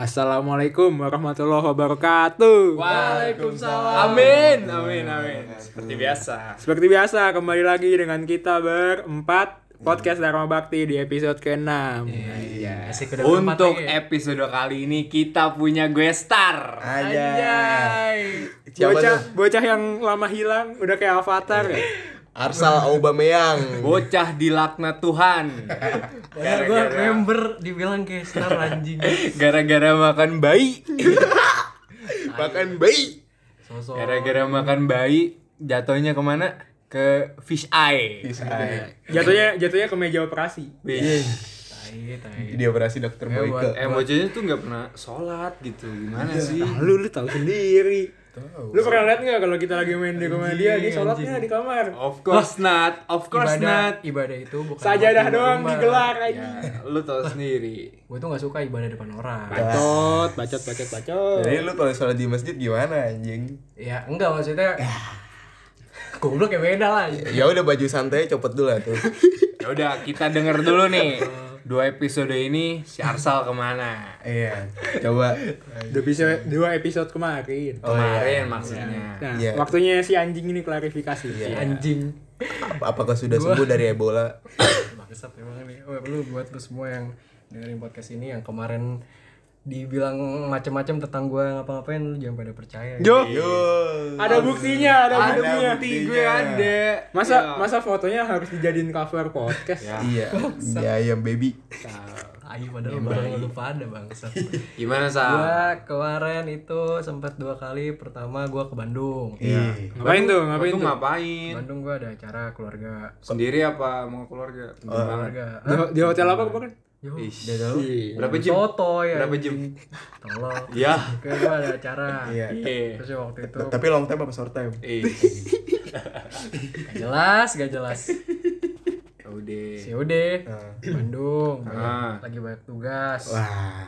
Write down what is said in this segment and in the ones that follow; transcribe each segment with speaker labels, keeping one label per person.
Speaker 1: Assalamualaikum warahmatullahi wabarakatuh.
Speaker 2: Waalaikumsalam.
Speaker 1: Amin, amin, amin.
Speaker 2: Seperti biasa.
Speaker 1: Seperti biasa, kembali lagi dengan kita berempat podcast Dharma Bakti di episode ke-6.
Speaker 2: Iya.
Speaker 3: Asik, udah
Speaker 2: Untuk
Speaker 3: berempat lagi ya.
Speaker 2: episode kali ini kita punya guestar.
Speaker 4: Aja. Siapa
Speaker 1: Bocah,
Speaker 4: tuh?
Speaker 1: bocah yang lama hilang udah kayak avatar ya.
Speaker 4: Arsal Aubameyang.
Speaker 2: Bocah dilaknat Tuhan.
Speaker 3: Padahal gue member dibilang kayak star anjing
Speaker 2: Gara-gara makan bayi.
Speaker 4: Bahkan bayi.
Speaker 3: Sosok
Speaker 2: Gara-gara makan bayi jatuhnya kemana? Ke fish eye.
Speaker 4: Iya.
Speaker 1: Jatuhnya jatuhnya ke meja operasi.
Speaker 2: Fish.
Speaker 3: tai, tai.
Speaker 4: Di operasi dokter Boyke.
Speaker 2: Eh bocahnya tuh nggak pernah sholat gitu. Gimana sih?
Speaker 1: Lu lu tahu sendiri. Lu pernah lihat nggak kalau kita lagi main di rumah dia, dia sholatnya di kamar.
Speaker 2: Of course not. Of course
Speaker 3: ibadah,
Speaker 2: not.
Speaker 3: ibadah itu bukan
Speaker 1: Sajadah
Speaker 3: buat
Speaker 1: doang
Speaker 3: rumah.
Speaker 1: digelar aja.
Speaker 2: Lu tahu sendiri.
Speaker 3: Gue tuh gak suka ibadah depan orang
Speaker 1: Bacot, bacot, bacot, bacot.
Speaker 4: Jadi lu kalau sholat di masjid gimana anjing?
Speaker 3: Ya enggak maksudnya Goblok ya beda lah
Speaker 4: Ya udah baju santai copot dulu lah tuh.
Speaker 2: Ya udah kita denger dulu nih. Dua episode ini si Arsal kemana?
Speaker 4: Iya. Coba.
Speaker 1: Udah bisa dua episode kemarin.
Speaker 4: Oh,
Speaker 2: Kemarin maksudnya.
Speaker 1: Nah,
Speaker 4: Iya.
Speaker 1: waktunya si anjing ini klarifikasi.
Speaker 3: Iya.
Speaker 1: Iya.
Speaker 3: Anjing
Speaker 4: Ap- Apakah sudah sembuh dari Ebola?
Speaker 3: Bangsat emang nih Oh, Lu buat lu semua yang dengerin podcast ini yang kemarin dibilang macam-macam tentang gue ngapa-ngapain lu jangan pada percaya ya.
Speaker 1: Jo,
Speaker 4: Yo.
Speaker 1: ada buktinya, ada buktinya.
Speaker 2: bukti gue ada.
Speaker 1: Masa masa fotonya harus dijadiin cover podcast?
Speaker 2: Ya.
Speaker 4: Iya. Di ayam baby.
Speaker 3: Ayo padahal barang lu pada bangsat
Speaker 2: Gimana Sal?
Speaker 3: Gua kemarin itu sempat dua kali. Pertama gua ke Bandung.
Speaker 4: Iya.
Speaker 1: Ngapain tuh? Ngapain
Speaker 2: Lu
Speaker 1: tuh?
Speaker 3: Di
Speaker 2: ngapain?
Speaker 3: Bandung gua ada acara keluarga.
Speaker 2: Sendiri apa mau keluarga? Gimana?
Speaker 3: Keluarga.
Speaker 1: Di, di hotel apa kemarin?
Speaker 3: Yo,
Speaker 2: Ish.
Speaker 1: Iya.
Speaker 2: Berapa jam?
Speaker 3: soto ya.
Speaker 2: Berapa jam?
Speaker 3: Tolong.
Speaker 2: Ya.
Speaker 3: Kayak gua ada acara.
Speaker 4: Iya.
Speaker 2: Iya.
Speaker 3: Terus ya waktu itu
Speaker 4: Tapi long time apa short time?
Speaker 2: Eh.
Speaker 3: gak jelas, gak jelas.
Speaker 2: Ya Udah.
Speaker 3: COD Bandung banyak- lagi banyak tugas.
Speaker 4: Wah.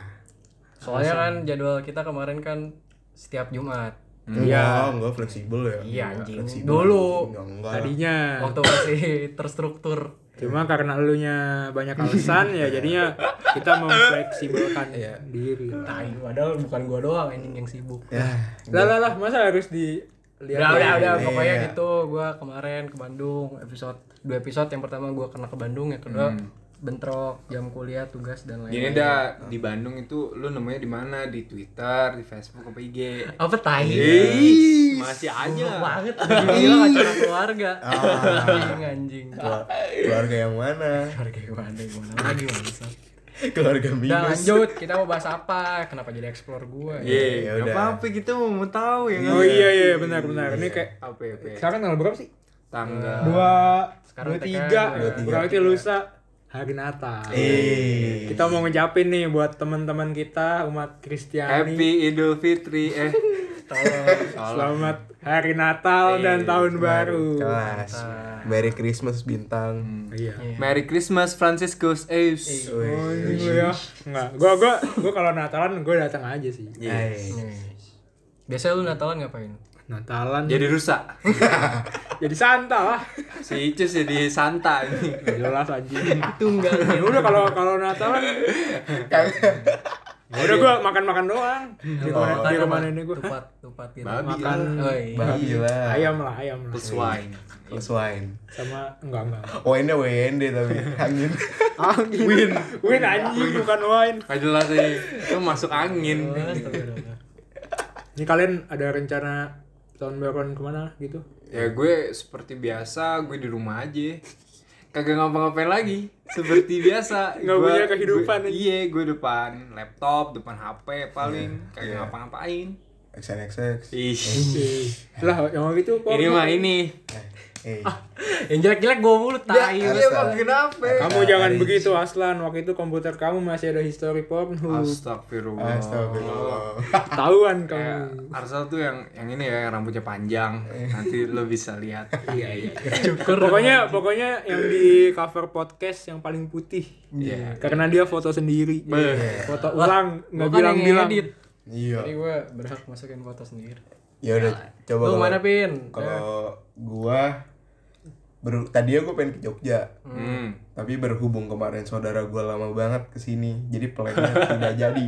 Speaker 3: Soalnya kan jadwal kita kemarin kan setiap Jumat.
Speaker 4: Iya, enggak fleksibel ya.
Speaker 3: Iya, anjing.
Speaker 4: Fleksibel.
Speaker 3: Dulu.
Speaker 4: Enggak, enggak.
Speaker 1: Tadinya.
Speaker 3: Waktu masih terstruktur.
Speaker 1: Cuma karena elunya banyak alasan ya jadinya kita memfleksibelkan diri.
Speaker 3: Tai, padahal bukan gua doang anjing yang sibuk.
Speaker 4: Ya.
Speaker 1: Lah lah lah, masa harus di
Speaker 3: udah
Speaker 1: lihat
Speaker 3: udah udah pokoknya
Speaker 1: Iya.
Speaker 3: gitu gua kemarin ke Bandung episode dua episode yang pertama gua kena ke Bandung yang kedua
Speaker 1: Hmm.
Speaker 3: bentrok jam kuliah tugas dan
Speaker 2: Gini
Speaker 3: lain-lain
Speaker 2: dah di Bandung itu lu namanya di mana? Di Twitter, di Facebook apa IG?
Speaker 3: apa tai
Speaker 1: Iya.
Speaker 2: Ih, masih
Speaker 3: Goblok
Speaker 2: aja.
Speaker 3: Oh, banget gila acara keluarga
Speaker 1: Ah.
Speaker 3: anjing anjing
Speaker 4: Keluar- Keluarga yang mana?
Speaker 3: keluarga gimana gimana lagi bangsa
Speaker 4: Keluarga
Speaker 3: udah
Speaker 4: minus.
Speaker 3: lanjut kita mau bahas apa kenapa jadi explore gua ya?
Speaker 4: Ya
Speaker 2: Iya,
Speaker 4: udah.
Speaker 2: enggak apa-apa kita mau mau tahu ya.
Speaker 1: Oh iya iya benar benar. Ini kayak
Speaker 2: Apa ya? apa ya?
Speaker 1: sekarang tanggal berapa sih?
Speaker 2: Tanggal.
Speaker 1: Dua,
Speaker 3: Sekarang
Speaker 1: dua
Speaker 3: TK,
Speaker 1: tiga.
Speaker 3: dua
Speaker 4: tiga.
Speaker 1: Berarti lusa hari Natal.
Speaker 4: Eh.
Speaker 1: Kita mau ngejapin nih buat teman-teman kita umat Kristiani.
Speaker 2: Happy Idul Fitri eh.
Speaker 3: tolong
Speaker 1: Selamat Hari Natal dan Tahun Baru.
Speaker 4: Kelas. Merry Christmas bintang.
Speaker 3: Hmm.
Speaker 1: Iya.
Speaker 2: Merry Christmas Franciscus. Eh.
Speaker 1: Oh, ini gue ya. Enggak, gua gua gua kalau Natalan gua datang aja sih.
Speaker 4: Eh.
Speaker 3: Nih. biasanya lu Natalan ngapain
Speaker 1: Natalan jadi,
Speaker 2: Jadi rusak.
Speaker 1: Santa lah.
Speaker 2: si Icus jadi Santa ini
Speaker 1: Nggak Jelas anjing. Tunggal. Ya udah kalau kalau Natalan Ya udah gua makan-makan doang. Di rumah di rumah nenek gua.
Speaker 3: tupat tupat gitu
Speaker 2: Babi.
Speaker 1: Makan
Speaker 3: Oh, iya.
Speaker 4: Babi lah.
Speaker 1: ayam lah, ayam lah.
Speaker 2: plus wine
Speaker 4: Plus wine.
Speaker 1: Sama enggak enggak.
Speaker 4: Wine-nya WND tapi angin.
Speaker 1: Angin. Win. Win anjing bukan wine.
Speaker 2: Gak jelas sih itu masuk angin
Speaker 3: Astagfirullah.
Speaker 1: Ini kalian ada rencana tahun baruan kemana gitu?
Speaker 2: ya gue seperti biasa gue di rumah aja kagak ngapa-ngapain lagi seperti biasa
Speaker 1: Nggak
Speaker 2: Gue-
Speaker 1: punya kehidupan
Speaker 2: gue-
Speaker 1: aja.
Speaker 2: iya gue depan laptop depan HP paling kagak ngapa-ngapain
Speaker 4: XNXX.
Speaker 2: Ih,
Speaker 1: Ih. Lah, yang itu kok.
Speaker 2: ini mah ini
Speaker 4: Eh.
Speaker 3: Ah. yang jelek-jelek gua mulu tai
Speaker 2: ya,
Speaker 4: Astaga.
Speaker 2: emang kenapa
Speaker 1: Kamu jangan begitu Aslan. Waktu itu komputer kamu masih ada history
Speaker 2: Ah.
Speaker 1: Pornhub.
Speaker 2: Astagfirullah
Speaker 3: Oh.
Speaker 4: Astagfirullah.
Speaker 1: Tahuan
Speaker 2: Kayak
Speaker 1: kamu.
Speaker 2: Arsal tuh yang yang ini ya yang rambutnya panjang nanti lo bisa lihat
Speaker 1: Iya iya. Pokoknya pokoknya yang di cover podcast yang paling putih.
Speaker 2: Iya.
Speaker 1: Karena dia foto sendiri. Iya.
Speaker 2: Beh.
Speaker 1: Foto ulang
Speaker 3: Gua
Speaker 1: nggak
Speaker 3: kan yang
Speaker 1: bilang-bilang.
Speaker 3: ngedit.
Speaker 4: Iya.
Speaker 3: Jadi gue berhak masukin foto sendiri.
Speaker 4: Ya udah coba
Speaker 3: Lu Nah,
Speaker 4: kalau-
Speaker 3: mana pin?
Speaker 4: Kalau gua Baru tadinya gue pengen ke Jogja.
Speaker 2: Hmm.
Speaker 4: Tapi berhubung kemarin saudara gue lama banget ke sini, jadi plannya tidak jadi.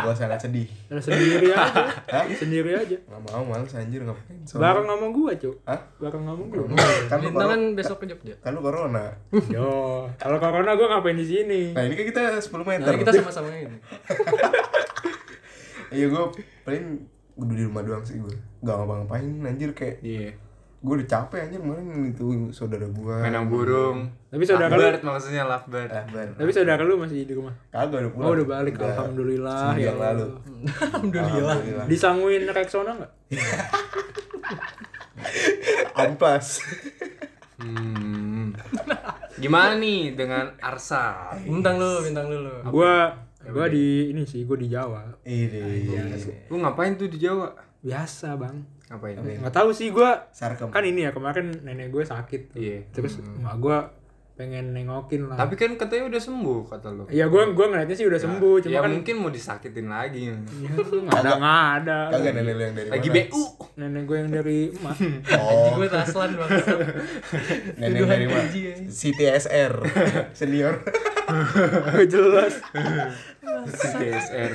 Speaker 4: Gue sangat sedih.
Speaker 1: Dan sendiri aja.
Speaker 4: Hah?
Speaker 1: sendiri aja.
Speaker 4: Gak mau males anjir ngapain?
Speaker 1: Bareng sama gua, Cuk.
Speaker 4: Hah?
Speaker 1: Bareng sama gua.
Speaker 4: Kan lu
Speaker 3: Bintang
Speaker 4: corona.
Speaker 3: kan besok ke Jogja.
Speaker 4: Kan lu corona.
Speaker 1: Yo, kalau corona gua ngapain di sini?
Speaker 4: Nah ini kan kita 10 meter.
Speaker 3: Nah, kita sama-sama ini.
Speaker 4: Iya gue paling udah di rumah doang sih gue. Gak ngapa-ngapain anjir kayak
Speaker 2: Iya.
Speaker 4: gue udah capek anjir kemarin itu saudara gue.
Speaker 2: Menang burung.
Speaker 1: Hmm. Tapi saudara lu, Eh.
Speaker 2: Lovebird maksudnya lovebird.
Speaker 4: Ah, bar.
Speaker 1: tapi saudara lu masih di rumah.
Speaker 4: Kagak udah pulang.
Speaker 1: Oh, udah balik. Alhamdulillah,
Speaker 4: seminggu
Speaker 1: ya
Speaker 4: yang
Speaker 1: Allah.
Speaker 4: lalu.
Speaker 3: Alhamdulillah.
Speaker 1: Disanguin Rexona enggak?
Speaker 4: Ampas.
Speaker 2: Hmm. Gimana nih dengan Arsa?
Speaker 3: Bintang lu, bintang lu lu.
Speaker 1: Gua gua di ini sih, gua di Jawa.
Speaker 4: Ini.
Speaker 2: Lu ngapain tuh di Jawa?
Speaker 1: Biasa, Bang.
Speaker 2: Ngapain?
Speaker 1: Nggak tahu sih gua
Speaker 4: Sarkem.
Speaker 1: kan ini ya kemarin nenek gue sakit tuh.
Speaker 2: Iya.
Speaker 1: Terus emak gue pengen nengokin lah.
Speaker 2: Tapi kan katanya udah sembuh kata lu.
Speaker 1: Ya gue gua ngeliatnya sih udah sembuh, cuma
Speaker 2: ya
Speaker 1: kan
Speaker 2: mungkin mau disakitin lagi.
Speaker 1: Ya, nggak ada nggak ada.
Speaker 4: Kagak nenek lu yang dari
Speaker 2: Lagi
Speaker 4: mana?
Speaker 2: BU.
Speaker 1: Nenek gue yang dari emak.
Speaker 4: Oh,
Speaker 3: Gue taslan banget.
Speaker 4: nenek dari mana?
Speaker 3: Tuduhan keji, ya.
Speaker 4: CTSR senior.
Speaker 1: Jelas.
Speaker 2: Si DSR.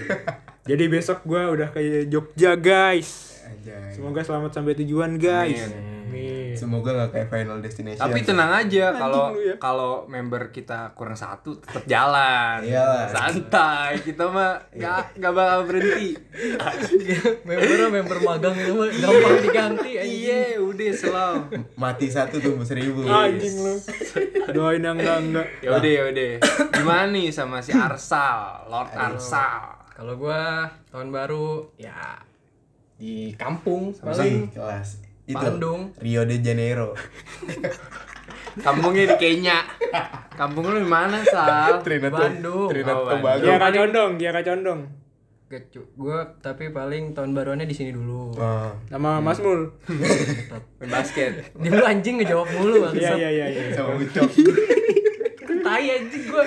Speaker 1: Jadi besok gue udah ke Jogja guys.
Speaker 4: Anjay.
Speaker 1: Semoga selamat sampai tujuan guys. Amin.
Speaker 4: Semoga gak kayak Final Destination.
Speaker 2: Tapi tenang aja kalau
Speaker 1: lu ya.
Speaker 2: kalau member kita kurang satu tetap jalan.
Speaker 4: Iyalah.
Speaker 2: Santai, kita mah nggak nggak bakal berhenti.
Speaker 3: Member member magang itu mah gampang diganti anjing.
Speaker 2: Iya, udah selalu.
Speaker 4: Mati satu tumbuh seribu.
Speaker 1: Anjing lu. Doain yang enggak enggak.
Speaker 2: Ya udah ya udah. Gimana nih sama si Arsal, Lord Arsal?
Speaker 3: Kalau gua tahun baru ya di kampung
Speaker 4: Apa sih?
Speaker 3: paling
Speaker 4: kelas. Itu
Speaker 3: Bandung.
Speaker 4: Rio de Janeiro.
Speaker 2: Kampungnya di Kenya. Kampung lu di mana, Sal?
Speaker 4: Trinidad
Speaker 3: Bandung.
Speaker 4: Trinidad
Speaker 2: Oh,
Speaker 4: Tobago.
Speaker 1: Dia kacondong, dia kacondong.
Speaker 3: Kecu- gua tapi paling tahun baruannya di sini dulu.
Speaker 4: Ah,
Speaker 1: Sama Mas Mul.
Speaker 2: Main basket.
Speaker 3: Dia lu anjing ngejawab mulu bang.
Speaker 1: Iya iya iya iya.
Speaker 4: sama Ucok.
Speaker 3: Tai anjing gua.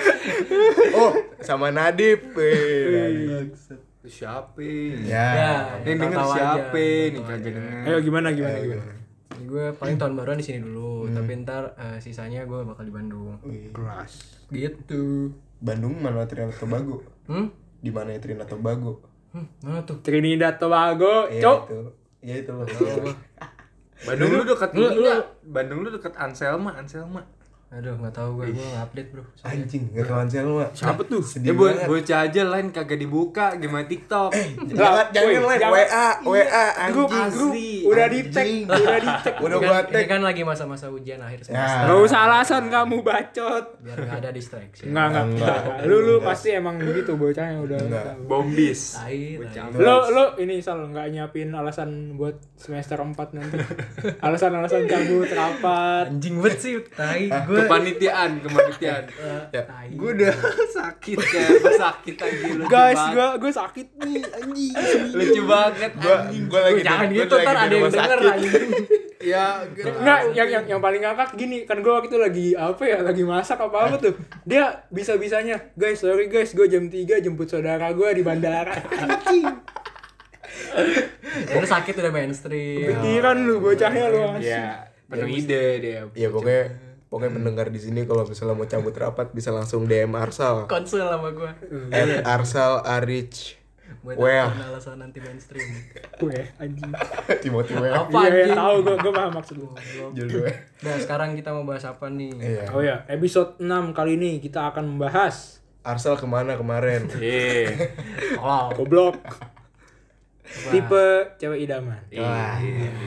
Speaker 4: Oh, sama Nadib. Eh, Nadib.
Speaker 2: Itu Siapa? Ya.
Speaker 4: Ya.
Speaker 2: Yang denger
Speaker 3: Tahu-tahu aja,
Speaker 2: siapa nih kagak denger.
Speaker 1: Ayo gimana gimana gimana.
Speaker 3: Jadi gue paling tahun baruan di sini
Speaker 4: Hmm.
Speaker 3: dulu, tapi ntar eh, sisanya gue bakal di Bandung.
Speaker 4: Wih,
Speaker 1: Kelas.
Speaker 3: Gitu.
Speaker 4: Bandung mana Trinidad Tobago?
Speaker 3: Hmm?
Speaker 4: Di mana ya Trinidad Tobago?
Speaker 3: Hmm, mana tuh?
Speaker 1: Trinidad Tobago,
Speaker 4: Ya,
Speaker 1: cok.
Speaker 4: itu. Ya itu loh.
Speaker 2: Bandung lu dekat
Speaker 3: Lu-
Speaker 2: ini
Speaker 3: lu-
Speaker 2: nggak? Bandung lu dekat Anselma, Anselma.
Speaker 3: Aduh, nggak tahu gue, gue nggak update bro. Soalnya.
Speaker 4: Anjing, gak tau Anselma.
Speaker 1: Siapa tuh?
Speaker 2: Ya
Speaker 4: Sedih
Speaker 2: bo
Speaker 4: banget.
Speaker 2: bocah aja lain kagak dibuka gimana TikTok.
Speaker 4: Jangan,
Speaker 1: Lah,
Speaker 4: jangan
Speaker 1: woi,
Speaker 4: lain.
Speaker 1: jangan.
Speaker 4: WA,
Speaker 1: Grup,
Speaker 4: WA, anjing.
Speaker 1: grup.
Speaker 2: Asli,
Speaker 1: Udah dicek,
Speaker 4: anjing.
Speaker 1: udah dicek.
Speaker 4: Udah
Speaker 3: Ini
Speaker 4: gua
Speaker 3: kan, ini
Speaker 4: tag.
Speaker 3: kan lagi masa-masa ujian akhir semester,
Speaker 4: Ya.
Speaker 1: Gak usah alasan kamu bacot.
Speaker 3: biar nggak ada distraksi.
Speaker 1: Enggak, enggak,
Speaker 4: Enggak.
Speaker 1: Lu lu pasti emang begitu bocahnya udah.
Speaker 4: Enggak.
Speaker 1: tahu.
Speaker 2: Bombis.
Speaker 3: Tai,
Speaker 2: Bocah.
Speaker 3: tai.
Speaker 1: Lu lu ini Sal nggak nyiapin alasan buat semester 4 nanti. Alasan-alasan cabut rapat.
Speaker 3: Anjing banget sih, tai gue.
Speaker 2: Kepanitiaan, kepanitiaan.
Speaker 4: Eh, Ya.
Speaker 3: Tai.
Speaker 2: Gue udah sakit kayak apa sakit aja lu.
Speaker 1: Guys,
Speaker 2: Lucu
Speaker 1: gua gua sakit nih anjing.
Speaker 2: banget. lucu banget.
Speaker 4: Gua,
Speaker 2: anjing.
Speaker 4: gua lagi di-
Speaker 3: Jangan
Speaker 4: gua
Speaker 3: gitu,
Speaker 4: lagi
Speaker 3: ntar
Speaker 4: di
Speaker 3: ada yang
Speaker 4: rumah
Speaker 3: denger
Speaker 4: sakit.
Speaker 3: anjing.
Speaker 2: Ya, gitu.
Speaker 1: Enggak, yang yang yang paling ngakak gini, kan gua waktu itu lagi apa ya, lagi masak apa apa tuh. Dia bisa-bisanya, guys, sorry guys, gua jam 3 jemput saudara gua di bandara. Anjing.
Speaker 3: Eh, Lu sakit udah mainstream.
Speaker 1: Pikiran lu bocahnya lu. asli.
Speaker 3: Iya.
Speaker 2: Ya, penuh ide dia.
Speaker 4: Ya pokoknya pokoknya mendengar di sini kalau misalnya mau cabut rapat bisa langsung DM Arsal.
Speaker 3: Konsul sama gue.
Speaker 4: At Arsal Arich.
Speaker 3: Buat
Speaker 4: Well.
Speaker 3: alasan anti mainstream.
Speaker 1: Gue anjing.
Speaker 4: Timothy Wea.
Speaker 3: Apa
Speaker 1: Iya, ya,
Speaker 3: anjing?
Speaker 1: tahu gua gua paham maksud lu.
Speaker 4: Judul gue.
Speaker 3: Nah, sekarang kita mau bahas apa nih?
Speaker 4: Iya.
Speaker 1: Oh ya, episode 6 kali ini kita akan membahas
Speaker 4: Arsal kemana kemarin?
Speaker 2: Iya.
Speaker 3: Wow.
Speaker 1: goblok. Tipe cewek idaman.
Speaker 3: Iya.
Speaker 4: Wah.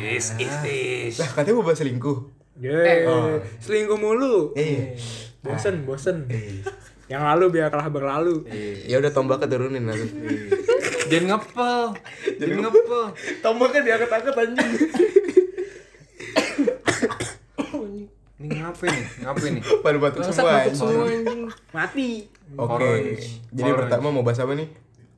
Speaker 2: Is is is.
Speaker 4: Lah katanya mau bahas selingkuh.
Speaker 3: Eh,
Speaker 1: Yeay.
Speaker 4: Oh.
Speaker 1: Selingkuh mulu.
Speaker 4: Eh.
Speaker 1: Bosen, bosen.
Speaker 3: Iya.
Speaker 1: Yang lalu biarlah berlalu.
Speaker 4: Ya udah tombaknya turunin nanti.
Speaker 2: Jangan ngepel. Jangan ngepel.
Speaker 4: tombaknya diangkat-angkat anjing.
Speaker 2: Ini ngapain nih? Ngapain nih?
Speaker 4: Pada batuk
Speaker 3: Bangsat
Speaker 4: semua.
Speaker 3: batuk
Speaker 4: anjing.
Speaker 3: semua anjing.
Speaker 1: Mati.
Speaker 4: Oke.
Speaker 2: Orange.
Speaker 4: Jadi
Speaker 2: Orange.
Speaker 4: pertama mau bahas apa nih?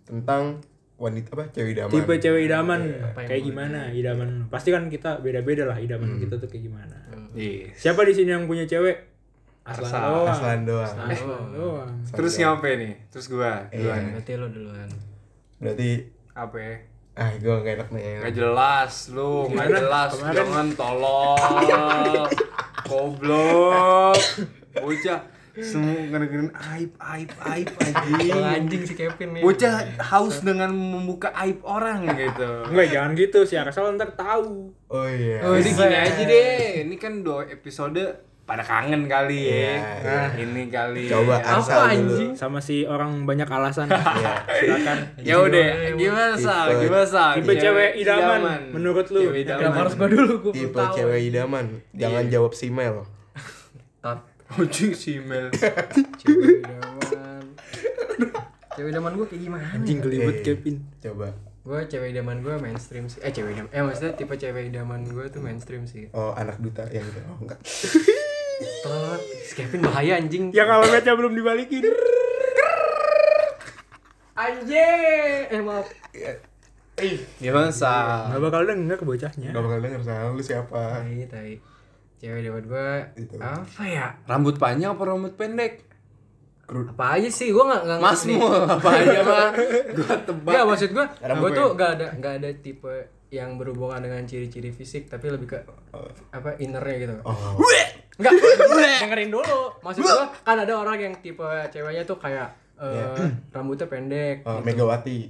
Speaker 4: Tentang wanita apa? Cewek idaman.
Speaker 1: Tipe cewek idaman
Speaker 4: Iya,
Speaker 3: yang
Speaker 1: kayak gimana? Idaman. Pasti kan kita beda-beda lah idaman
Speaker 4: Hmm.
Speaker 1: kita tuh kayak gimana.
Speaker 2: Yes.
Speaker 1: Siapa di sini yang punya cewek? Aslan
Speaker 2: Arsal.
Speaker 1: doang.
Speaker 4: Arslan doang.
Speaker 1: Aslan doang.
Speaker 2: Terus ya? ngapain nih? Terus gua
Speaker 4: Iya.
Speaker 2: duluan.
Speaker 3: Berarti lo duluan.
Speaker 4: Berarti
Speaker 2: Apa ya?
Speaker 4: ah gue gak enak nih.
Speaker 2: Gak jelas lu, gak jelas. Jangan tolong. Goblok. Bocah semua ngedengerin aib aib aib
Speaker 3: Emang
Speaker 2: anjing.
Speaker 3: anjing si Kevin nih
Speaker 2: Bocah haus dengan membuka aib orang gitu.
Speaker 1: Enggak, jangan gitu. Si Arsal ntar tahu.
Speaker 4: Oh iya.
Speaker 3: Oh,
Speaker 2: Jadi gini
Speaker 3: Buset.
Speaker 2: aja deh, ini kan dua episode pada kangen kali ya.
Speaker 4: Iya, iya.
Speaker 2: Nah, ini kali.
Speaker 4: Coba
Speaker 2: Ya.
Speaker 4: Arsal
Speaker 3: Apa
Speaker 4: dulu.
Speaker 3: anjing?
Speaker 1: Sama si orang banyak alasan.
Speaker 4: Iya.
Speaker 1: Silakan.
Speaker 2: Ya udah, gimana sal?
Speaker 4: Tipe-
Speaker 2: Gimana sal?
Speaker 1: tipe cewek idaman, menurut lu?
Speaker 2: Cewek idaman.
Speaker 3: Kenapa harus gua dulu gua belum
Speaker 4: Tipe
Speaker 3: tahu.
Speaker 4: Iya,
Speaker 3: Iya.
Speaker 4: cewek idaman. Jangan jawab si Mel.
Speaker 3: Tat.
Speaker 2: Ujung si Mel.
Speaker 3: Cewek idaman. Cewek idaman gua kayak gimana? ya?
Speaker 1: Anjing gelibet
Speaker 4: Oke.
Speaker 1: Kevin.
Speaker 4: Eh, Coba.
Speaker 3: Gua cewek idaman gua mainstream sih. Eh cewek idaman. Eh maksudnya tipe cewek idaman gua tuh mainstream sih.
Speaker 4: Oh anak duta yang itu. Oh, enggak.
Speaker 3: Tet. Si Kevin bahaya anjing.
Speaker 1: Ya kalau baca belum dibalikin.
Speaker 3: Anjing. Eh maaf.
Speaker 2: Gimana sal?
Speaker 1: Gak bakal denger bocahnya.
Speaker 4: Gak bakal denger salah lu siapa.
Speaker 3: Tai tai. Cewek idaman gua
Speaker 4: Itu.
Speaker 3: apa ya?
Speaker 2: Rambut panjang apa rambut pendek?
Speaker 3: Apa aja sih gua enggak enggak
Speaker 2: Mas mau apa aja mah? Gua tebak.
Speaker 3: Enggak maksud gua,
Speaker 4: Rambut
Speaker 3: gua tuh gak ada gak ada tipe yang berhubungan dengan ciri-ciri fisik tapi lebih ke apa innernya gitu.
Speaker 4: Oh.
Speaker 3: Enggak, dengerin dulu. Maksud gua kan ada orang yang tipe ceweknya tuh kayak eh, rambutnya pendek,
Speaker 4: Iya. Oh, Megawati.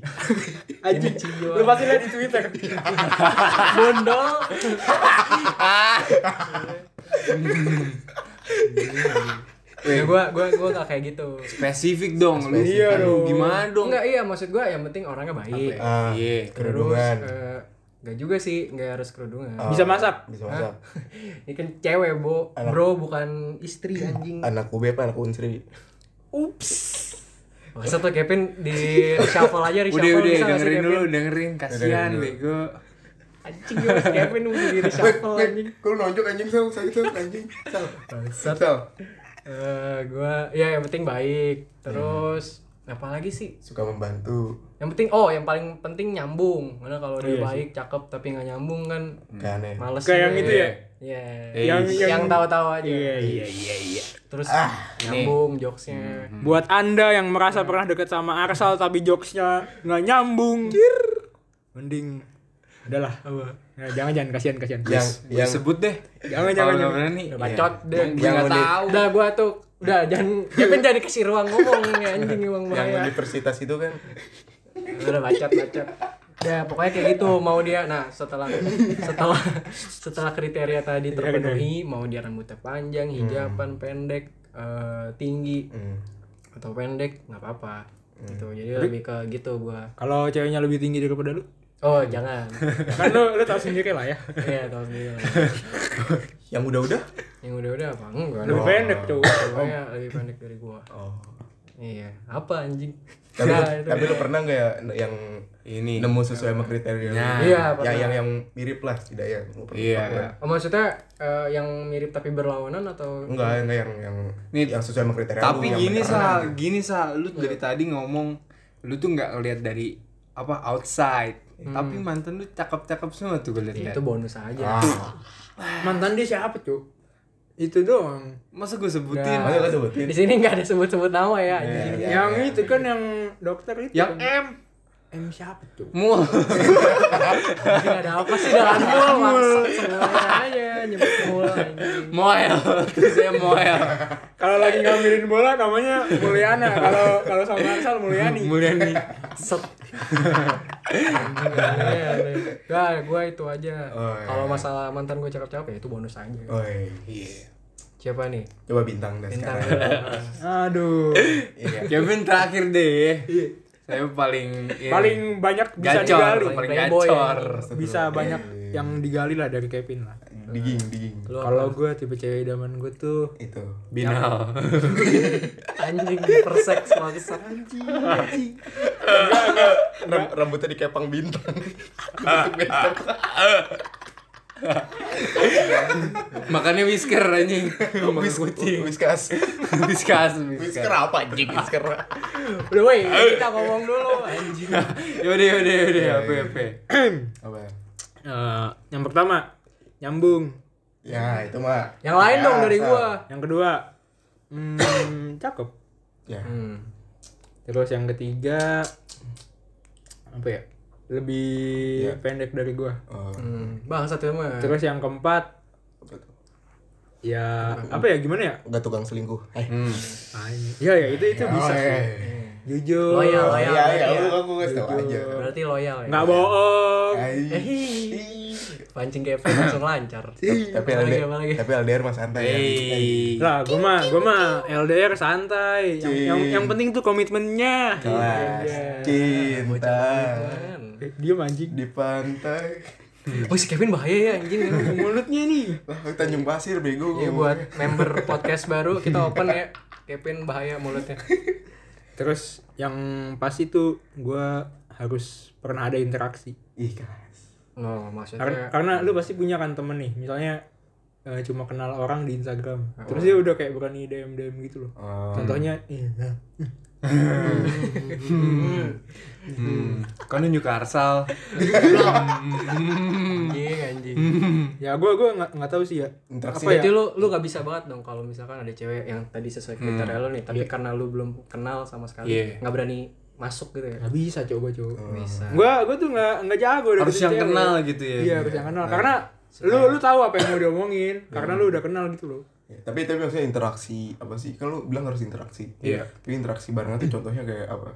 Speaker 1: Anjing.
Speaker 3: Cion.
Speaker 1: Lu pasti lihat di
Speaker 4: Iya,
Speaker 1: Twitter.
Speaker 3: bondol. ya gua gua gua gak kayak gitu.
Speaker 2: Spesifik dong lu.
Speaker 4: Spesifik.
Speaker 1: Iya dong.
Speaker 2: Gimana dong?
Speaker 3: Enggak, iya maksud gua yang penting orangnya baik.
Speaker 4: Ah,
Speaker 2: Iya.
Speaker 4: kerudungan.
Speaker 3: Enggak juga sih, enggak harus kerudungan.
Speaker 4: Oh,
Speaker 1: Bisa masak?
Speaker 4: Bisa masak.
Speaker 3: Ini kan cewek, Bo. Bro, bukan istri anjing.
Speaker 4: Anak UB apa anak Unsri?
Speaker 1: Ups.
Speaker 3: Masa tuh Kevin di reshuffle aja reshuffle
Speaker 2: Udah udah
Speaker 3: bisa nggak sih,
Speaker 2: dengerin
Speaker 3: Kevin?
Speaker 2: dulu, dengerin kasihan
Speaker 4: Dengerin dulu.
Speaker 2: bego.
Speaker 3: Anjing ya Mas Kevin mesti di reshuffle anjing.
Speaker 4: Kau nonjok anjing sel, sakit sel, anjing sel.
Speaker 3: Bangsat.
Speaker 4: Sel,
Speaker 3: Eh, gua ya yang penting baik. Terus
Speaker 2: Iya.
Speaker 3: apa lagi sih?
Speaker 4: suka membantu
Speaker 3: Yang penting oh yang paling penting nyambung. Karena kalau udah
Speaker 1: Iya sih.
Speaker 3: baik cakep tapi nggak nyambung kan
Speaker 4: Gak aneh
Speaker 3: males.
Speaker 1: Kayak yang
Speaker 3: juga.
Speaker 1: itu ya?
Speaker 3: Iya.
Speaker 2: Eh,
Speaker 3: Yang
Speaker 1: yang-
Speaker 3: yang tahu-tahu aja.
Speaker 1: Iya, iya, iya, iya.
Speaker 3: Terus
Speaker 2: Ah,
Speaker 3: nyambung jokesnya.
Speaker 2: Hmm.
Speaker 1: Buat anda yang merasa pernah deket sama Arsal tapi jokesnya nggak nyambung, mending udahlah. Ya, jangan jangan kasihan kasihan.
Speaker 4: yang
Speaker 2: Yang
Speaker 4: yang
Speaker 2: sebut deh.
Speaker 1: Jangan, jangan,
Speaker 2: Kalau nggak
Speaker 1: jangan.
Speaker 2: berani. iya.
Speaker 3: Udah bacot deh.
Speaker 2: Yang
Speaker 4: Iya. Yang
Speaker 2: nggak
Speaker 4: unik.
Speaker 2: tahu.
Speaker 3: Udah gua tuh udah jangan Kevin jangan dikasih ruang ngomong ya anjing emang
Speaker 4: yang
Speaker 3: bahaya.
Speaker 4: universitas itu kan
Speaker 3: udah bacot bacot ya pokoknya kayak gitu mau dia nah setelah setelah setelah
Speaker 4: Iya,
Speaker 3: kriteria tadi terpenuhi mau dia rambutnya panjang hijaban pendek eh, tinggi
Speaker 4: hmm.
Speaker 3: atau pendek nggak apa-apa gitu jadi lebih ke gitu gua
Speaker 1: Kalau ceweknya lebih tinggi daripada lu,
Speaker 3: oh jangan
Speaker 1: kan lu lu tahu sendiri lah ya.
Speaker 3: iya tahu sendiri lah.
Speaker 4: yang udah-udah
Speaker 3: yang udah-udah apa enggak
Speaker 1: Lebih pendek cowok.
Speaker 3: pokoknya lebih pendek dari gua
Speaker 4: oh
Speaker 3: iya apa anjing
Speaker 4: tapi
Speaker 3: Nah,
Speaker 4: lu,
Speaker 3: itu
Speaker 4: tapi lu
Speaker 3: dia.
Speaker 4: pernah nggak ya n- yang
Speaker 2: Ini. Nah.
Speaker 4: nemu sesuai sama kriteria lu?
Speaker 3: Iya, pernah.
Speaker 4: yang yang yang mirip lah tidak yang lu pernah
Speaker 2: Iya.
Speaker 4: pernah.
Speaker 3: Oh, maksudnya eh, yang mirip tapi berlawanan atau
Speaker 4: enggak enggak yang yang
Speaker 2: Nih,
Speaker 4: yang sesuai sama kriteria
Speaker 2: Tapi
Speaker 4: lu, yang
Speaker 2: gini
Speaker 4: beneran.
Speaker 2: sal, gini sal, lu dari tadi ngomong lu tuh nggak ngeliat dari apa outside. Tapi mantan lu cakep-cakep semua tuh gue liat.
Speaker 3: Iya, itu bonus aja
Speaker 4: ah
Speaker 1: Mantan dia siapa cuy? Itu doang.
Speaker 2: Masa gue sebutin?
Speaker 4: makanya lu sebutin Eh,
Speaker 3: di sini nggak ada sebut-sebut nama ya anjing.
Speaker 4: Iya,
Speaker 1: yang itu kan yang dokter itu.
Speaker 2: Yang
Speaker 1: kan.
Speaker 2: M.
Speaker 1: M siapa cuy?
Speaker 2: Mu.
Speaker 3: Anjing, ada apa sih dalam gua maksud semuanya aja nyebut mulu anjing.
Speaker 2: Moel. Terus saya Moel.
Speaker 1: Kalau lagi ngambilin bola namanya Mulyana. Kalau kalau sama Arsal Mulyani.
Speaker 2: Mulyani.
Speaker 3: set Iya, Gak, gue Ya, itu aja.
Speaker 4: Oh, iya. Oh.
Speaker 3: Kalau masalah mantan gue cakep-cakep ya itu bonus aja.
Speaker 4: Oi,
Speaker 3: Siapa nih?
Speaker 4: iya. coba bintang dah
Speaker 3: Bintang.
Speaker 4: sekarang.
Speaker 1: Aduh.
Speaker 4: Iya.
Speaker 2: Kevin terakhir deh. Saya paling ini.
Speaker 1: Iya. Paling banyak bisa
Speaker 2: gacor,
Speaker 1: digali.
Speaker 2: paling
Speaker 3: Playboy ya.
Speaker 2: gacor.
Speaker 1: Bisa banyak yang digali lah dari Kevin lah.
Speaker 4: Diging, diging.
Speaker 3: Lu apa?
Speaker 1: Kalau gue tipe cewek idaman gue tuh
Speaker 4: Itu.
Speaker 2: Binal.
Speaker 3: anjing perseks maksud
Speaker 4: Ram- rambutnya dikepang bintang. Bentuk bintang.
Speaker 2: Makannya whisker anjing. Makan kucing.
Speaker 4: Iya, Whiskas.
Speaker 2: Whiskas, whiskas.
Speaker 4: Whisker apa anjing? Whisker.
Speaker 3: Udah woi, kita ngomong dulu anjing.
Speaker 2: Yaudah, yaudah, yaudah. Apa, apa.
Speaker 4: Apa?
Speaker 1: eh, yang pertama nyambung,
Speaker 4: Ya, itu mah.
Speaker 3: Yang lain dong dari
Speaker 4: Biasa.
Speaker 3: gue.
Speaker 1: yang kedua hmm, cakep,
Speaker 4: Ya.
Speaker 3: Hmm.
Speaker 1: terus yang ketiga apa ya lebih pendek dari gue,
Speaker 4: Oh,
Speaker 3: Hmm. Bang satu mah. Hmm.
Speaker 1: terus yang keempat
Speaker 4: apa tuh?
Speaker 1: ya apa ya gimana ya
Speaker 4: Gak tukang selingkuh. Eh.
Speaker 1: ah, ini. ya ya itu itu bisa sih. jujur
Speaker 3: Loyal,
Speaker 4: iya, Oh,
Speaker 3: loyal.
Speaker 4: iya, iya,
Speaker 3: iya.
Speaker 4: lu aku ngasih tau aja.
Speaker 3: Berarti loyal ya. Eh,
Speaker 1: nggak bohong
Speaker 4: Ay.
Speaker 3: Pancing kayak fan langsung lancar.
Speaker 4: Tapi
Speaker 3: Apa lagi,
Speaker 4: LDR,
Speaker 3: apa lagi?
Speaker 4: tapi LDR mah santai ya.
Speaker 2: Iya,
Speaker 1: lah gue mah gue mah LDR santai yang, yang, yang penting tuh komitmennya
Speaker 4: Kelas cinta
Speaker 3: Kan.
Speaker 1: Eh, diem anjing
Speaker 4: di pantai.
Speaker 3: Oh si Kevin bahaya ya anjing.
Speaker 1: mulutnya nih
Speaker 4: Lah, ke Tanjung Pasir bego.
Speaker 3: Iya buat member podcast baru kita open ya. Kevin bahaya mulutnya.
Speaker 1: terus yang pasti tuh gue harus pernah ada interaksi
Speaker 4: Ih, kelas.
Speaker 3: Oh,
Speaker 2: Iya.
Speaker 1: Kar-
Speaker 3: maksudnya
Speaker 1: karena lu pasti punya kan temen nih misalnya eh, cuma kenal orang di Instagram terus dia udah kayak berani DM DM gitu loh
Speaker 4: Oh.
Speaker 1: contohnya iya.
Speaker 2: Hmm. Kau nunjuk ke Arsal.
Speaker 3: anjing anjing.
Speaker 2: Hmm.
Speaker 1: ya gue gue nggak nggak tahu sih ya
Speaker 4: Interaksi
Speaker 1: apa ya
Speaker 3: Berarti lu lu gak bisa banget dong kalau misalkan ada cewek yang tadi sesuai kriteria lu nih, tapi karena lu belum kenal sama sekali,
Speaker 2: Hmm. Iya.
Speaker 3: nggak berani masuk gitu ya.
Speaker 1: nggak bisa coba coba
Speaker 3: Bisa.
Speaker 1: gue gue tuh nggak nggak jago deketin
Speaker 2: Hmm. Harus yang
Speaker 1: cewek.
Speaker 2: kenal gitu ya.
Speaker 1: iya harus yang kenal karena lu lu tahu apa yang mau diomongin
Speaker 2: Hmm.
Speaker 1: karena lu udah kenal gitu loh
Speaker 4: Ya, tapi tapi maksudnya interaksi apa sih? Kan lu bilang harus interaksi.
Speaker 2: Iya.
Speaker 4: Tapi interaksi bareng tuh contohnya kayak apa?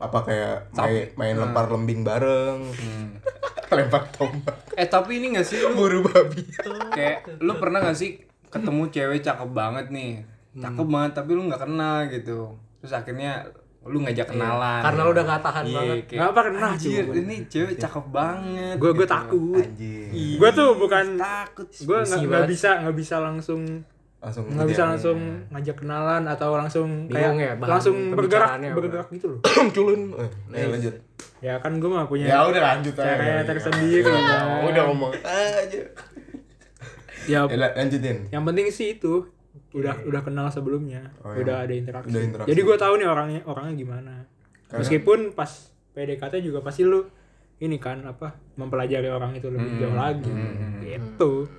Speaker 4: Apa kayak main, main lempar lembing bareng. lempar tombak.
Speaker 2: Eh tapi ini gak sih lu
Speaker 4: Buru babi.
Speaker 2: kayak lu pernah gak sih ketemu cewek cakep banget nih
Speaker 1: Hmm.
Speaker 2: cakep banget tapi lu nggak kenal gitu terus akhirnya lu ngajak kenalan
Speaker 3: Karena lu udah gak tahan
Speaker 2: Iya,
Speaker 3: banget.
Speaker 2: kayak,
Speaker 1: nggak apa kenal Iya.
Speaker 2: anjir ini cewek cakep banget
Speaker 1: gue gue
Speaker 2: gitu.
Speaker 1: takut
Speaker 4: Anjing.
Speaker 1: gue tuh bukan
Speaker 2: takut
Speaker 1: gue
Speaker 3: Bisi
Speaker 1: nggak nggak
Speaker 3: banget.
Speaker 1: bisa nggak bisa langsung
Speaker 4: Langsung
Speaker 2: Iya,
Speaker 1: nggak bisa langsung ngajak kenalan atau langsung
Speaker 3: Bingung
Speaker 1: kayak
Speaker 3: ya, bahan
Speaker 1: langsung bergerak
Speaker 3: pembicaraannya apa?
Speaker 1: bergerak gitu loh
Speaker 4: culun. Eh, ayo lanjut.
Speaker 1: ya kan gue mah punya
Speaker 4: Ya udah lanjut aja.
Speaker 1: caranya tersendiri
Speaker 4: Ya,
Speaker 1: kan.
Speaker 4: Udah ngomong aja.
Speaker 1: ya
Speaker 4: Ya, la- lanjutin.
Speaker 1: yang penting sih itu udah udah kenal sebelumnya
Speaker 4: Oh, iya.
Speaker 1: udah ada interaksi.
Speaker 4: Udah interaksi.
Speaker 1: jadi gue tahu nih orangnya orangnya gimana meskipun pas PDKT juga pasti lu ini kan apa mempelajari orang itu lebih jauh lagi gitu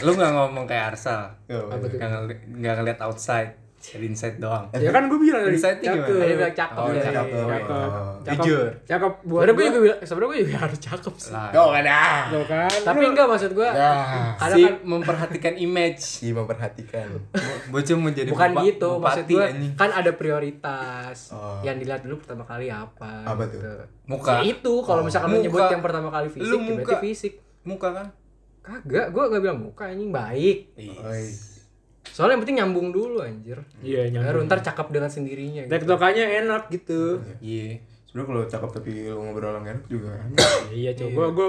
Speaker 2: lu nggak ngomong kayak Arsal
Speaker 4: Yo,
Speaker 2: nggak ngeli- nggak ngeliat outside dari inside doang
Speaker 1: ya kan gue bilang tadi
Speaker 2: Insight-nya gimana?
Speaker 3: Tadi
Speaker 1: cakep
Speaker 3: bilang cakep.
Speaker 2: Oh,
Speaker 3: ya.
Speaker 4: cakep.
Speaker 3: Iya.
Speaker 1: cakep
Speaker 4: Oh.
Speaker 1: cakep
Speaker 2: Jujur.
Speaker 1: cakep buat
Speaker 3: Sebenernya gue
Speaker 1: gue
Speaker 3: juga bilang- sebenernya gue juga harus cakep sih.
Speaker 2: lah
Speaker 4: Tuh kan ah.
Speaker 1: Tuh kan
Speaker 3: Tapi enggak maksud gue,
Speaker 4: Nah,
Speaker 3: ada
Speaker 2: si
Speaker 3: kan
Speaker 2: memperhatikan image
Speaker 4: si Iya, memperhatikan.
Speaker 2: Bo- bocah mau jadi
Speaker 3: bukan
Speaker 2: bupa-
Speaker 3: gitu maksud
Speaker 2: bupati,
Speaker 3: gue
Speaker 2: anjing.
Speaker 3: kan ada prioritas
Speaker 4: Oh.
Speaker 3: yang dilihat dulu pertama kali apa
Speaker 4: Apa
Speaker 3: gitu.
Speaker 4: tuh?
Speaker 2: Muka.
Speaker 3: Ya itu kalau misalkan
Speaker 2: Muka.
Speaker 3: lu nyebut yang pertama kali fisik
Speaker 2: Lu
Speaker 3: ya
Speaker 2: muka.
Speaker 3: berarti fisik
Speaker 2: muka kan
Speaker 3: kagak gue gak bilang muka anjing baik
Speaker 4: Oi.
Speaker 3: soalnya yang penting nyambung dulu anjir
Speaker 1: iya
Speaker 3: baru
Speaker 1: nyambung
Speaker 3: ntar cakep dengan sendirinya gitu.
Speaker 1: tektokannya enak gitu
Speaker 2: iya
Speaker 4: Sebenernya kalau cakep tapi lu ngobrol orang enak juga kan.
Speaker 1: iya coba gue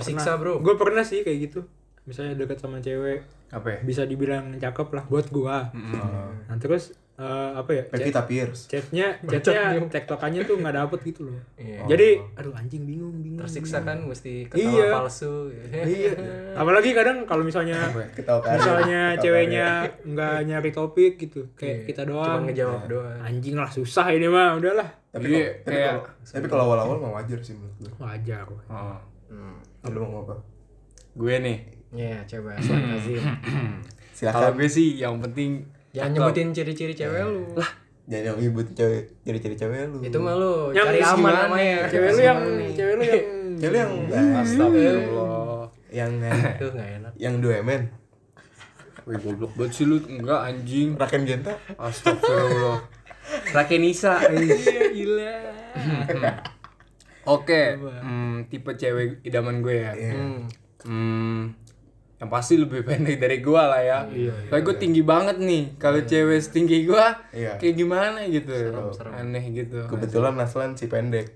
Speaker 3: Tersiksa, bro.
Speaker 1: gue pernah sih kayak gitu misalnya deket sama cewek
Speaker 2: apa ya?
Speaker 1: bisa dibilang cakep lah buat gua nah terus eh, apa ya
Speaker 4: Pevita Pierce.
Speaker 1: chatnya chatnya tektokannya tuh nggak dapet gitu loh
Speaker 3: Iya.
Speaker 1: jadi aduh anjing bingung bingung
Speaker 3: tersiksa kan mesti ketawa
Speaker 1: Iya.
Speaker 3: palsu
Speaker 1: iya apalagi kadang kalau misalnya
Speaker 4: Ketawa karir.
Speaker 1: misalnya
Speaker 4: Ketawa
Speaker 1: ceweknya nggak nyari topik gitu kayak kita
Speaker 3: Iya, cuma
Speaker 1: doang
Speaker 3: ngejawab doang
Speaker 1: anjing lah susah ini mah udahlah
Speaker 4: karir. Tapi
Speaker 2: Iya,
Speaker 4: kalau tapi
Speaker 2: kayak-
Speaker 4: kalau tapi kalau awal-awal mah wajar sih menurut gue.
Speaker 1: wajar
Speaker 2: Oh.
Speaker 4: Lu mau apa?
Speaker 2: gue nih
Speaker 3: ya coba silakan, Azim.
Speaker 2: kalau
Speaker 4: Silakan.
Speaker 2: gue sih yang penting
Speaker 3: jangan nyebutin ciri-ciri cewek lu lah
Speaker 4: Jangan yang ibu cewek, ciri-ciri cewek lu.
Speaker 3: itu mah lu
Speaker 1: Yang
Speaker 3: cari aman
Speaker 2: gimana?
Speaker 3: namanya
Speaker 1: ya,
Speaker 3: Iya.
Speaker 1: cewek lu yang cewek lu yang
Speaker 4: Cewek lu yang Iya.
Speaker 2: astagfirullah
Speaker 4: yang
Speaker 3: tuh nggak enak
Speaker 4: yang dua men,
Speaker 2: Wih goblok banget sih lu enggak anjing
Speaker 4: Raken Genta.
Speaker 2: astagfirullah Rakenisa
Speaker 3: iya gila
Speaker 2: Oke, hmm, tipe cewek idaman gue ya.
Speaker 4: Iya.
Speaker 3: Hmm.
Speaker 2: Hmm, yang pasti lebih pendek dari gue lah ya. Soalnya gue tinggi banget nih. Kalau cewek setinggi gue,
Speaker 4: Iya.
Speaker 2: kayak gimana gitu.
Speaker 3: serem.
Speaker 2: Aneh gitu.
Speaker 4: Kebetulan Naslan si pendek.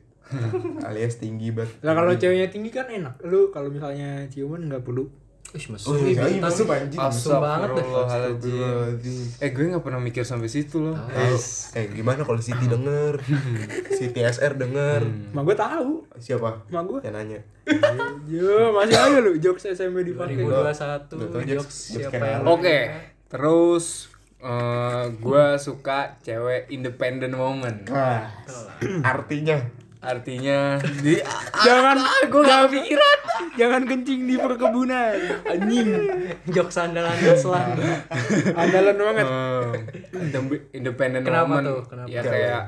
Speaker 4: Alias tinggi banget.
Speaker 1: lah kalau ceweknya tinggi kan enak lu kalau misalnya ciuman nggak perlu
Speaker 3: Ih, mesum.
Speaker 4: Oh,
Speaker 3: Ih,
Speaker 4: iya, iya,
Speaker 3: tas-
Speaker 4: masuk anjing.
Speaker 3: Masuk banget deh.
Speaker 2: Astagfirullahaladzim. Eh gue nggak pernah mikir sampai situ loh. Yes.
Speaker 4: Eh gimana kalau Siti denger? Siti SR denger.
Speaker 1: mah gue tahu
Speaker 4: Siapa?
Speaker 1: mah gue
Speaker 4: Yang nanya.
Speaker 1: yo masih aja lu jokes SMP dipakai
Speaker 3: 2021
Speaker 4: Lu tau jokes-
Speaker 3: jokes
Speaker 4: jokes
Speaker 3: siapa
Speaker 4: kayak
Speaker 3: yang Oh,
Speaker 2: Oke, terus eh gue suka cewek independent woman.
Speaker 4: Artinya
Speaker 2: Artinya di ah,
Speaker 1: jangan gue gak pikiran jangan kencing di perkebunan
Speaker 3: anjing jokes andalan Islam
Speaker 4: Nah.
Speaker 1: andalan banget
Speaker 2: eh, indem- independent
Speaker 3: Kenapa
Speaker 2: woman.
Speaker 3: tuh? Kenapa?
Speaker 2: Ya kayak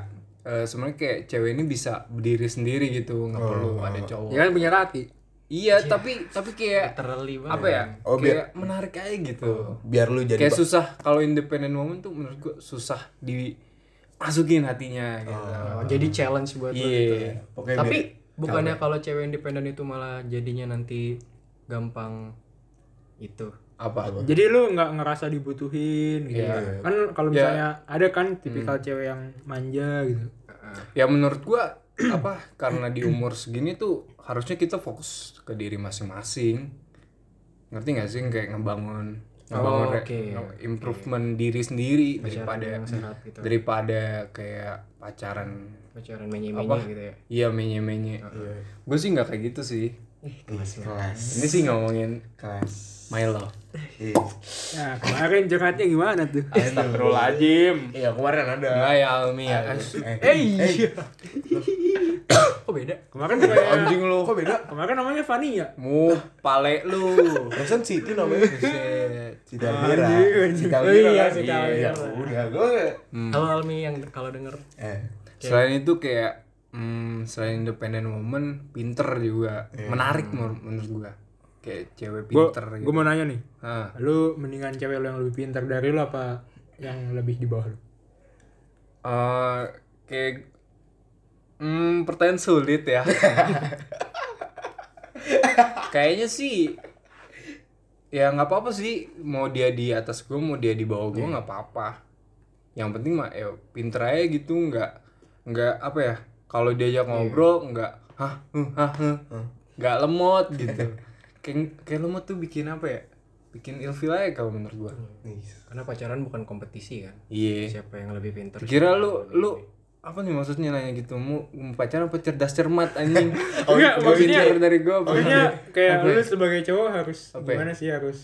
Speaker 2: eh, sebenarnya kayak cewek ini bisa berdiri sendiri gitu, nggak perlu ada
Speaker 1: ya
Speaker 2: cowok.
Speaker 1: Iya kan punya kaki
Speaker 2: Iya, tapi tapi kayak
Speaker 3: Literally banget.
Speaker 2: apa ya?
Speaker 4: Oh, biar-
Speaker 2: kayak menarik aja gitu.
Speaker 4: biar lu jadi
Speaker 2: Kayak
Speaker 4: ba-
Speaker 2: susah kalau independent woman tuh menurut gua susah dimasukin hatinya gitu.
Speaker 4: Nah.
Speaker 3: Oh, jadi challenge buat lo gitu.
Speaker 2: Iya.
Speaker 4: Pokoknya
Speaker 3: Tapi
Speaker 4: biar-
Speaker 3: bukannya kalau cewek independen itu malah jadinya nanti gampang itu.
Speaker 2: Apa?
Speaker 1: Jadi lu nggak ngerasa dibutuhin gitu.
Speaker 2: Iya.
Speaker 1: Kan kalau
Speaker 2: Ya. Hmm.
Speaker 1: misalnya ada kan tipikal cewek yang manja gitu.
Speaker 3: uh,
Speaker 2: Ya menurut gua apa karena di umur segini tuh harusnya kita fokus ke diri masing-masing. Ngerti nggak sih kayak ngebangun ngebangun re-
Speaker 3: oke.
Speaker 2: nge- improvement diri sendiri daripada
Speaker 3: yang sehat gitu.
Speaker 2: daripada kayak pacaran
Speaker 3: Pacaran menye-menye gitu ya.
Speaker 2: iya menye-menye. Gue sih nggak kayak gitu sih.
Speaker 4: kelas
Speaker 2: Ini sih ngomongin
Speaker 4: kelas
Speaker 2: my love.
Speaker 4: iya
Speaker 1: Nah, kemarin curhatnya gimana tuh?
Speaker 5: Astagfirullahaladzim.
Speaker 4: Iya, kemarin ada
Speaker 2: Enggak ya Almi ya.
Speaker 4: eh,
Speaker 3: Oh beda.
Speaker 1: Kemarin kayak
Speaker 2: Anjing lu.
Speaker 4: kok beda
Speaker 1: kemarin namanya Fani ya?
Speaker 2: Mu pale lu.
Speaker 4: Perasaan Siti namanya
Speaker 2: Buset.
Speaker 4: Siti Almira Siti
Speaker 1: Oh iya,
Speaker 4: Almira kan?
Speaker 1: Siti
Speaker 4: iya udah gue
Speaker 3: Halo Almi yang kalau denger
Speaker 4: eh
Speaker 2: Selain itu kayak hmm, selain independent woman, pinter juga. Menarik menur- menurut gua. Kayak cewek pinter gitu.
Speaker 1: Gue mau nanya nih.
Speaker 2: Hah.
Speaker 1: Lu mendingan cewek lu yang lebih pintar dari lu apa yang lebih di bawah lu?
Speaker 2: Eh, kayak hmm, pertanyaan sulit ya. Kayaknya sih ya nggak apa-apa sih mau dia di atas gua mau dia di bawah gua nggak apa-apa yang penting mah eh pinter aja gitu nggak nggak apa ya kalau diajak ngobrol nggak hah huh, hah huh. nggak lemot gitu kayak kayak lemot tuh bikin apa ya bikin ilfil aja kalau menurut gua
Speaker 3: karena pacaran bukan kompetisi kan.
Speaker 2: iya
Speaker 3: Siapa yang lebih pintar?
Speaker 2: Kira lu lu apa nih maksudnya nanya gitu mu mu pacaran apa cerdas cermat anjing
Speaker 1: Enggak,
Speaker 2: Gua
Speaker 1: Oh, iya, maksudnya-
Speaker 2: pinter dari Oh, gua apa
Speaker 1: Pokoknya kayak
Speaker 2: Apa ya?
Speaker 1: lu sebagai cowok harus
Speaker 2: Apa ya?
Speaker 1: gimana sih harus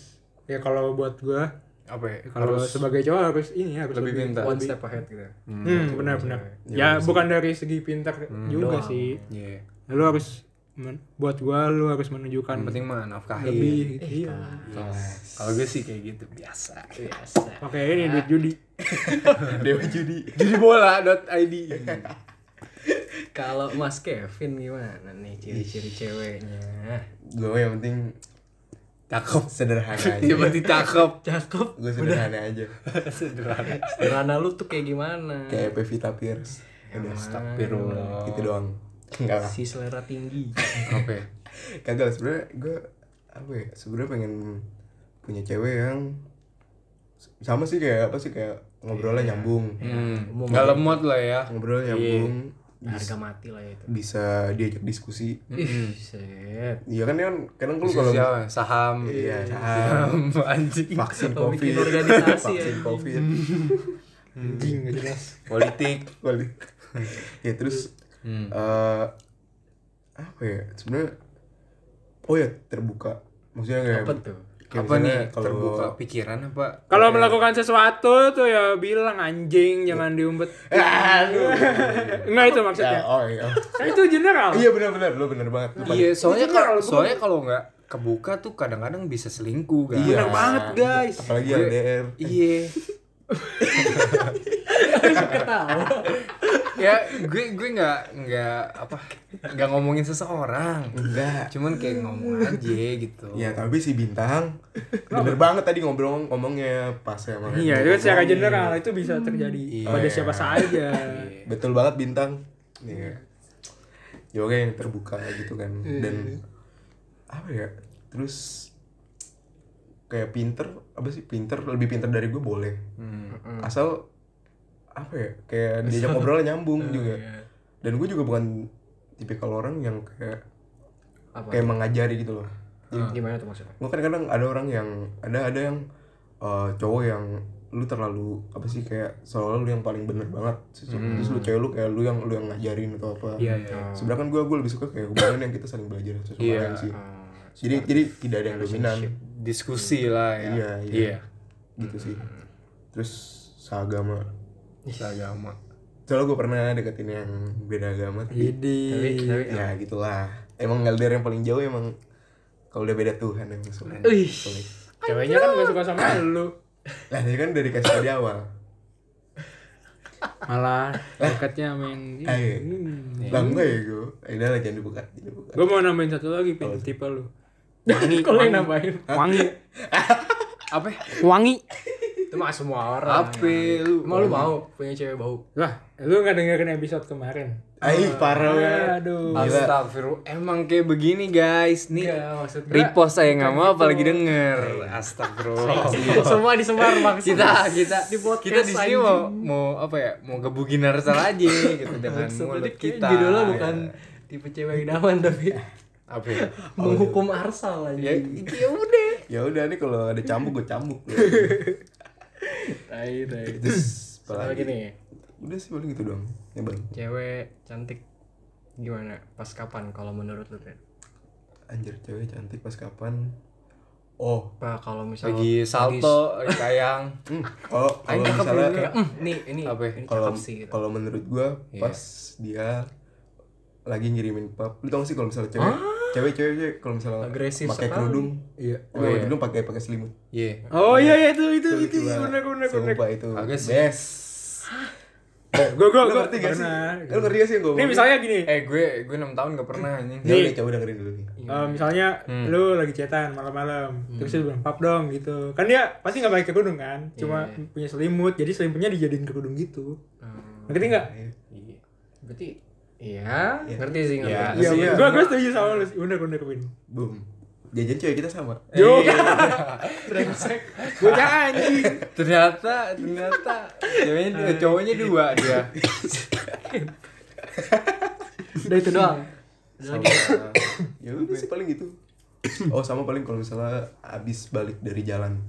Speaker 1: ya kalau buat gua
Speaker 2: apa ya?
Speaker 1: ya kalau sebagai cowok harus ini harus
Speaker 2: lebih Iya, pintar
Speaker 3: one step ahead gitu.
Speaker 1: Hmm, benar-benar. Ya, bukan dari segi pintar
Speaker 2: Hmm,
Speaker 1: juga sih.
Speaker 2: iya
Speaker 1: Lu harus men- buat gua lu harus
Speaker 2: yang
Speaker 1: menunjukkan
Speaker 2: penting mah nafkahin
Speaker 1: lebih gitu. Iya.
Speaker 2: kalau gue sih kayak gitu biasa
Speaker 3: Biasa.
Speaker 1: Pakai ini duit judi.
Speaker 4: Dewa Judi
Speaker 2: jadi bola.id
Speaker 3: Kalau Mas Kevin gimana nih ciri-ciri ceweknya?
Speaker 4: gue yang penting
Speaker 2: cakep
Speaker 4: sederhana
Speaker 2: ya
Speaker 4: aja
Speaker 2: berarti cakep
Speaker 3: Cakep.
Speaker 4: gue sederhana aja
Speaker 2: sederhana
Speaker 3: Sederhana lu tuh kayak gimana?
Speaker 4: kayak Pevita Pierce udah
Speaker 2: astagfirullah
Speaker 4: gitu doang enggak lah
Speaker 3: si selera tinggi.
Speaker 2: apa ya?
Speaker 4: kagak lah, sebenarnya gue apa ya sebenarnya pengen punya cewek yang sama sih kayak apa sih kayak ngobrolnya
Speaker 3: Iya.
Speaker 4: nyambung
Speaker 1: Iya.
Speaker 2: hmm. nggak lemot lah ya
Speaker 4: ngobrol nyambung
Speaker 3: Harga mati Hmm. lah ya itu.
Speaker 4: bisa diajak diskusi
Speaker 3: Ih, set.
Speaker 4: iya kan kan kadang lu kalau
Speaker 2: Sosial, saham
Speaker 4: iya
Speaker 2: saham anjing
Speaker 4: vaksin
Speaker 3: Atau bikin
Speaker 4: covid
Speaker 3: organisasi, ya. Hmm.
Speaker 4: vaksin
Speaker 3: anjing.
Speaker 4: covid
Speaker 1: Anjing nggak jelas.
Speaker 2: politik
Speaker 4: Wali. ya terus
Speaker 2: Hmm.
Speaker 4: eh, apa ya sebenarnya oh ya terbuka maksudnya kayak
Speaker 3: Apa tuh?
Speaker 4: kayak
Speaker 2: apa
Speaker 4: misalnya
Speaker 2: nih terbuka pikiran apa
Speaker 1: Kalau melakukan sesuatu tuh ya bilang anjing jangan diumpet.
Speaker 4: aduh
Speaker 1: Enggak itu maksudnya.
Speaker 4: Ya, oh iya
Speaker 1: Kan itu general.
Speaker 4: iya benar-benar lu benar banget lu
Speaker 2: Iya, soalnya
Speaker 1: Itu
Speaker 2: kalau
Speaker 1: general,
Speaker 2: soalnya kalau nggak kebuka tuh kadang-kadang bisa selingkuh kan.
Speaker 4: Iya.
Speaker 1: Bener banget, guys.
Speaker 4: apalagi LDR
Speaker 2: Iya. ya gue gue nggak nggak apa nggak ngomongin seseorang
Speaker 4: enggak
Speaker 2: cuman kayak ngomong aja gitu
Speaker 4: ya tapi si bintang bener banget tadi ngobrol ngomongnya pas ya Mak.
Speaker 1: Iya, itu secara general itu bisa terjadi pada
Speaker 4: Iya.
Speaker 1: siapa saja.
Speaker 4: betul banget bintang Iya. ya oke yang terbuka gitu kan dan apa ya terus kayak pinter apa sih pinter lebih pinter dari gue boleh asal apa ya kayak diajak ngobrol nyambung juga dan gue juga bukan tipikal orang yang kayak
Speaker 3: Apa?
Speaker 4: kayak mengajari gitu loh
Speaker 3: Gimana tuh maksudnya?
Speaker 4: gue kan kadang ada orang yang ada ada yang eh, cowok yang lu terlalu apa sih kayak seolah lu yang paling bener banget terus terus lu cewek lu kayak lu yang lu yang ngajarin atau apa
Speaker 2: Hmm. Iya, iya.
Speaker 4: sebenarnya kan gue gue lebih suka kayak hubungan yang kita saling belajar satu sama
Speaker 2: Iya.
Speaker 4: lain sih jadi jadi tidak ada yang dominan
Speaker 2: ya. diskusi lah ya
Speaker 4: Iya, iya. gitu sih
Speaker 2: Hmm.
Speaker 4: terus seagama
Speaker 2: agama
Speaker 4: soalnya gue pernah deketin yang beda agama tapi
Speaker 1: Jadi
Speaker 2: Iya,
Speaker 3: tapi
Speaker 4: ya gitulah emang LDR yang paling jauh emang kalau udah beda Tuhan yang sulit
Speaker 3: Wih.
Speaker 4: Sulit.
Speaker 1: ceweknya kan gak suka sama lu.
Speaker 4: Lah tadi kan dari kasih tadi awal.
Speaker 2: malah dekatnya main
Speaker 1: Hmm.
Speaker 4: Ah, iya. Lah enggak ya gue. Eh udah lah jangan dibuka. Jangan dibuka.
Speaker 1: Gue mau nambahin satu lagi pin tipe lu.
Speaker 2: wangi
Speaker 3: Kalau yang nambahin.
Speaker 2: wangi apa
Speaker 1: Wangi.
Speaker 3: Itu mah semua orang.
Speaker 2: apa lu
Speaker 3: Emang lu mau punya cewek bau?
Speaker 1: Lah, lu nggak dengerin episode kemarin?
Speaker 4: Ai parah banget.
Speaker 1: Aduh.
Speaker 2: Astagfirullah, emang kayak begini guys nih.
Speaker 3: Enggak, maksud gua-
Speaker 2: Repost saya nggak mau, apalagi denger.
Speaker 4: Iya.
Speaker 2: Astagfirullah.
Speaker 3: Semua disebar
Speaker 2: Iya.
Speaker 3: maksud.
Speaker 2: kita kita
Speaker 3: Di podcast
Speaker 2: kita di sini
Speaker 3: anjing.
Speaker 2: mau mau apa ya? Mau gebugin narasal aja gitu dengan
Speaker 3: Sebenarnya
Speaker 2: mulut
Speaker 3: kayak
Speaker 2: kita.
Speaker 3: judulnya
Speaker 2: Ya.
Speaker 3: bukan tipe cewek idaman tapi
Speaker 2: apa ya?
Speaker 3: menghukum arsal
Speaker 2: Ya,
Speaker 3: aja.
Speaker 2: ya udah.
Speaker 4: Ya udah nih kalau ada cambuk gue cambuk.
Speaker 2: Iya.
Speaker 3: Tai tai.
Speaker 4: Terus
Speaker 3: Satu lagi
Speaker 4: apalagi?
Speaker 3: nih,
Speaker 4: Udah sih paling gitu doang. Ya bang.
Speaker 3: cewek cantik gimana? Pas kapan kalau menurut lu Ren?
Speaker 4: Anjir cewek cantik pas kapan? Oh,
Speaker 3: Apa kalau misalnya
Speaker 2: Lagi salto, lagi kayang.
Speaker 4: hmm. kalau kalau
Speaker 2: Anjir,
Speaker 4: misalnya
Speaker 3: Kayak, "Mm, nih ini
Speaker 2: Apa ya?
Speaker 3: ini
Speaker 4: kalau
Speaker 3: cakep sih gitu.
Speaker 4: kalau menurut gua
Speaker 2: Iya.
Speaker 4: pas dia lagi ngirimin pap lu tau gak sih kalau misalnya cewek cewek cewek, cewek kalau misalnya
Speaker 3: Ah. Agresif
Speaker 4: pakai
Speaker 3: sekali.
Speaker 4: kerudung
Speaker 2: Iya.
Speaker 4: oh, kerudung pakai pakai selimut
Speaker 2: Iya.
Speaker 1: Oh iya iya itu itu itu
Speaker 4: Coba,
Speaker 1: benar benar benar.
Speaker 4: gitu, sumpah itu
Speaker 2: Agresif.
Speaker 4: best
Speaker 1: Gue gue
Speaker 4: lu
Speaker 1: gue
Speaker 4: ngerti gak sih
Speaker 1: pernah. gitu.
Speaker 4: lu ngerti gak sih yang gua
Speaker 1: Ini misalnya gini.
Speaker 2: Eh gue gue 6 tahun gak pernah anjing.
Speaker 4: ya udah coba dengerin dulu nih
Speaker 1: Eh, misalnya
Speaker 4: Hmm.
Speaker 1: lu lagi cetan malam-malam terus lu bilang pap dong gitu kan dia pasti nggak pakai kerudung
Speaker 4: Iya,
Speaker 1: kan cuma punya selimut jadi selimutnya dijadiin kerudung gitu
Speaker 4: Oh,
Speaker 1: ngerti nggak
Speaker 3: Iya. Hmm. Berarti iya, ngerti sih ngerti.
Speaker 2: Iya.
Speaker 1: iya
Speaker 4: Iya, Eh,
Speaker 1: gua gua setuju sama lu bener bener Win
Speaker 4: boom jajan cewek kita sama
Speaker 1: yo
Speaker 4: iya.
Speaker 1: gue anjing
Speaker 2: ternyata ternyata ceweknya dua, cowoknya dua dia
Speaker 3: Udah itu doang. Ada lagi.
Speaker 4: ya udah sih paling gitu oh sama paling kalau misalnya abis balik dari jalan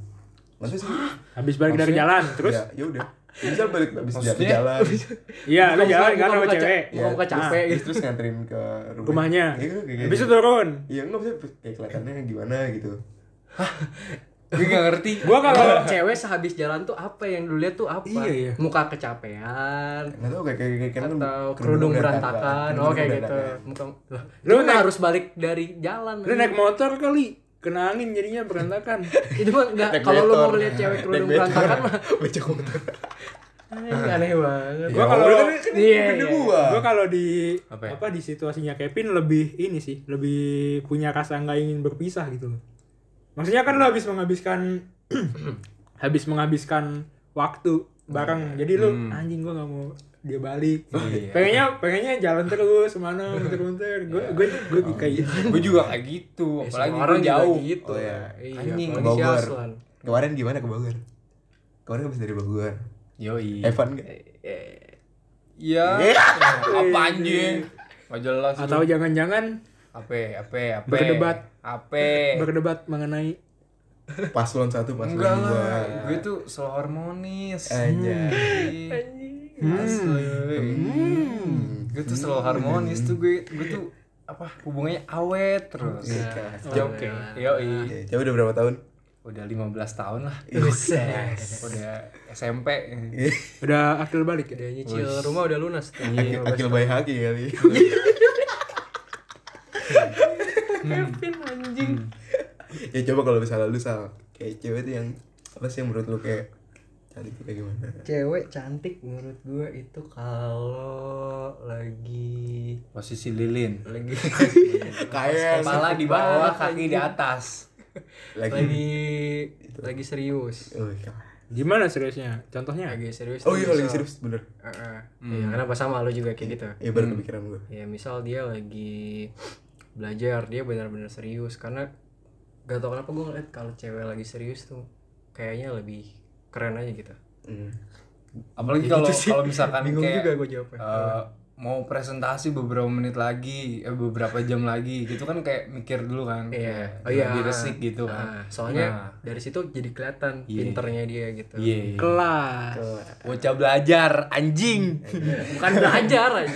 Speaker 4: Maksudnya sih
Speaker 1: habis balik dari jalan terus
Speaker 4: ya ya udah misal balik abis dari
Speaker 2: Maksudnya?
Speaker 4: jalan
Speaker 1: iya lu
Speaker 3: Buka-buka-
Speaker 1: jalan kan sama
Speaker 3: buka-buka ca-
Speaker 1: cewek
Speaker 4: Ya,
Speaker 3: Muka-muka
Speaker 4: terus-
Speaker 3: capek gitu.
Speaker 4: terus nganterin ke rumah.
Speaker 1: rumahnya
Speaker 4: Iya, kayak gitu.
Speaker 1: habis itu turun
Speaker 4: Iya enggak bisa kayak kelihatannya gimana gitu.
Speaker 2: gue gak ngerti
Speaker 1: gua kalau
Speaker 3: cewek sehabis jalan tuh apa yang dulu lihat tuh apa?
Speaker 1: Iya, iya.
Speaker 3: Muka kecapean
Speaker 4: Enggak tahu kayak kayak kayak kayak
Speaker 3: atau kerudung berantakan.
Speaker 4: kerudung
Speaker 3: Oh kayak gitu.
Speaker 4: berantakan.
Speaker 3: Muka lah,
Speaker 1: Lu
Speaker 3: lu
Speaker 1: naik-
Speaker 3: harus balik dari jalan.
Speaker 1: lu naik motor kali kena angin jadinya berantakan
Speaker 3: Itu mah enggak
Speaker 4: Naik
Speaker 3: kalau lu
Speaker 4: motor.
Speaker 3: mau lihat cewek
Speaker 4: Naik
Speaker 3: kerudung
Speaker 4: motor.
Speaker 3: berantakan mah
Speaker 4: Becek motor.
Speaker 3: aneh, aneh banget.
Speaker 1: Gua
Speaker 4: Ya,
Speaker 1: kalau-
Speaker 4: udah, kan- kan
Speaker 3: Iya,
Speaker 4: gede
Speaker 3: iya.
Speaker 4: gua.
Speaker 1: gue kalau di
Speaker 2: Apa
Speaker 1: apa,
Speaker 2: ya?
Speaker 1: di situasinya Kevin lebih ini sih lebih punya rasa nggak ingin berpisah gitu loh maksudnya kan lo habis menghabiskan habis menghabiskan waktu bareng jadi lo
Speaker 4: Hmm.
Speaker 1: anjing gue nggak mau dia balik pengennya pengennya jalan terus mana muter-muter gue gue gue kayak gitu
Speaker 2: gue juga kayak gitu
Speaker 3: Ya,
Speaker 2: apalagi
Speaker 3: semua
Speaker 2: gue
Speaker 3: juga
Speaker 2: jauh
Speaker 3: gitu.
Speaker 4: Oh, iya.
Speaker 3: Iya,
Speaker 2: Anjing,
Speaker 4: Ke
Speaker 3: apalagi si
Speaker 4: Bogor.
Speaker 3: Aslan.
Speaker 4: Kemarin gimana ke Bogor? Kemarin habis dari Bogor.
Speaker 2: yoi
Speaker 4: Evan enggak?
Speaker 2: ya apa anjing gak jelas
Speaker 1: atau
Speaker 2: lu.
Speaker 1: jangan-jangan
Speaker 2: apa apa apa
Speaker 1: Berdebat.
Speaker 2: apa
Speaker 1: berdebat mengenai
Speaker 4: Paslon satu, paslon
Speaker 2: enggak
Speaker 4: dua.
Speaker 2: lah gue tuh selalu harmonis
Speaker 4: Aja.
Speaker 3: Hmm.
Speaker 2: asli gue tuh selalu harmonis tuh gue gue tuh apa hubungannya awet terus
Speaker 4: Iya,
Speaker 2: Ya, oke yoi
Speaker 4: Ya, coba udah berapa tahun?
Speaker 2: udah 15 tahun lah
Speaker 3: Buset.
Speaker 2: udah SMP
Speaker 1: udah akil balik ya
Speaker 3: Udah nyicil rumah udah lunas tuh.
Speaker 4: Akil- Akil bayi haki kali.
Speaker 3: Iya. Kevin anjing.
Speaker 4: Hmm. ya coba kalau misalnya lu sal kayak cewek tuh yang apa sih yang menurut lu kayak cantik tuh kayak gimana?
Speaker 3: Cewek cantik menurut gue itu kalau lagi
Speaker 2: posisi lilin
Speaker 3: lagi
Speaker 4: Kayak
Speaker 2: kepala di bawah kaki di atas
Speaker 4: lagi.
Speaker 3: lagi lagi serius.
Speaker 4: Oh, iya.
Speaker 1: gimana seriusnya contohnya
Speaker 3: Lagi serius.
Speaker 4: Oh iya lagi
Speaker 3: nih, misal-
Speaker 4: serius bener.
Speaker 3: Heeh. Iya, kenapa sama lu juga kayak gitu.
Speaker 4: Iya baru kepikiran gue.
Speaker 3: Ya misal dia lagi belajar dia benar-benar serius karena gak tau kenapa gue ngeliat kalau cewek lagi serius tuh kayaknya lebih keren aja gitu.
Speaker 4: Hmm.
Speaker 2: apalagi kalau kalau misalkan
Speaker 3: Bingung
Speaker 2: kayak
Speaker 3: juga gue jawabnya.
Speaker 2: eh, mau presentasi beberapa menit lagi eh, beberapa jam lagi gitu kan kayak mikir dulu kan
Speaker 3: Iya.
Speaker 2: kayak lebih resik gitu
Speaker 3: Ah,
Speaker 2: kan
Speaker 3: soalnya
Speaker 2: Nah,
Speaker 3: dari situ jadi kelihatan pinternya dia gitu.
Speaker 2: iya
Speaker 1: kelas
Speaker 2: bocah belajar anjing
Speaker 3: Bukan belajar aja.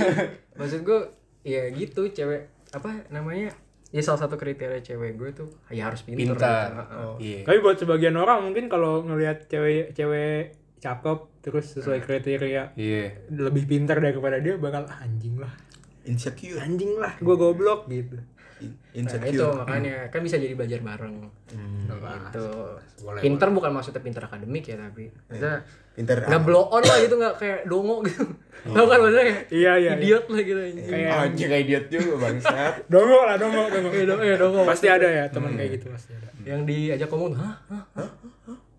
Speaker 3: Maksud gue ya gitu cewek apa namanya? Ya salah satu kriteria cewek gue tuh ya harus pinter.
Speaker 2: pintar
Speaker 3: gitu. Ah, ah.
Speaker 2: iya
Speaker 1: Tapi buat sebagian orang mungkin kalau ngelihat cewek-cewek cakep terus sesuai kriteria
Speaker 2: iya
Speaker 1: lebih pintar daripada dia bakal "Ah, anjing lah,
Speaker 4: Insecure.
Speaker 1: anjing lah, gue goblok gitu.
Speaker 4: in-
Speaker 3: Nah, itu
Speaker 4: insecure
Speaker 3: makanya kan bisa jadi belajar bareng.
Speaker 2: Nah,
Speaker 3: Itu
Speaker 2: Boleh, Eh,
Speaker 3: pinter bukan maksudnya pinter akademik ya tapi maksudnya
Speaker 4: pinter
Speaker 3: nggak blow on lah gitu nggak kayak dongo gitu.
Speaker 2: Oh.
Speaker 3: Tau kan maksudnya? kayak
Speaker 1: Iya, iya, iya.
Speaker 3: Idiot lah gitu. Kayak
Speaker 1: kayak
Speaker 4: anjing kayak idiot juga bangsat
Speaker 1: dongo lah dongo Iya, dongo
Speaker 3: eh, dongo, eh, dongo.
Speaker 1: pasti ada ya teman kayak gitu pasti ada
Speaker 3: yang diajak ngomong, hah? Hah? Hah?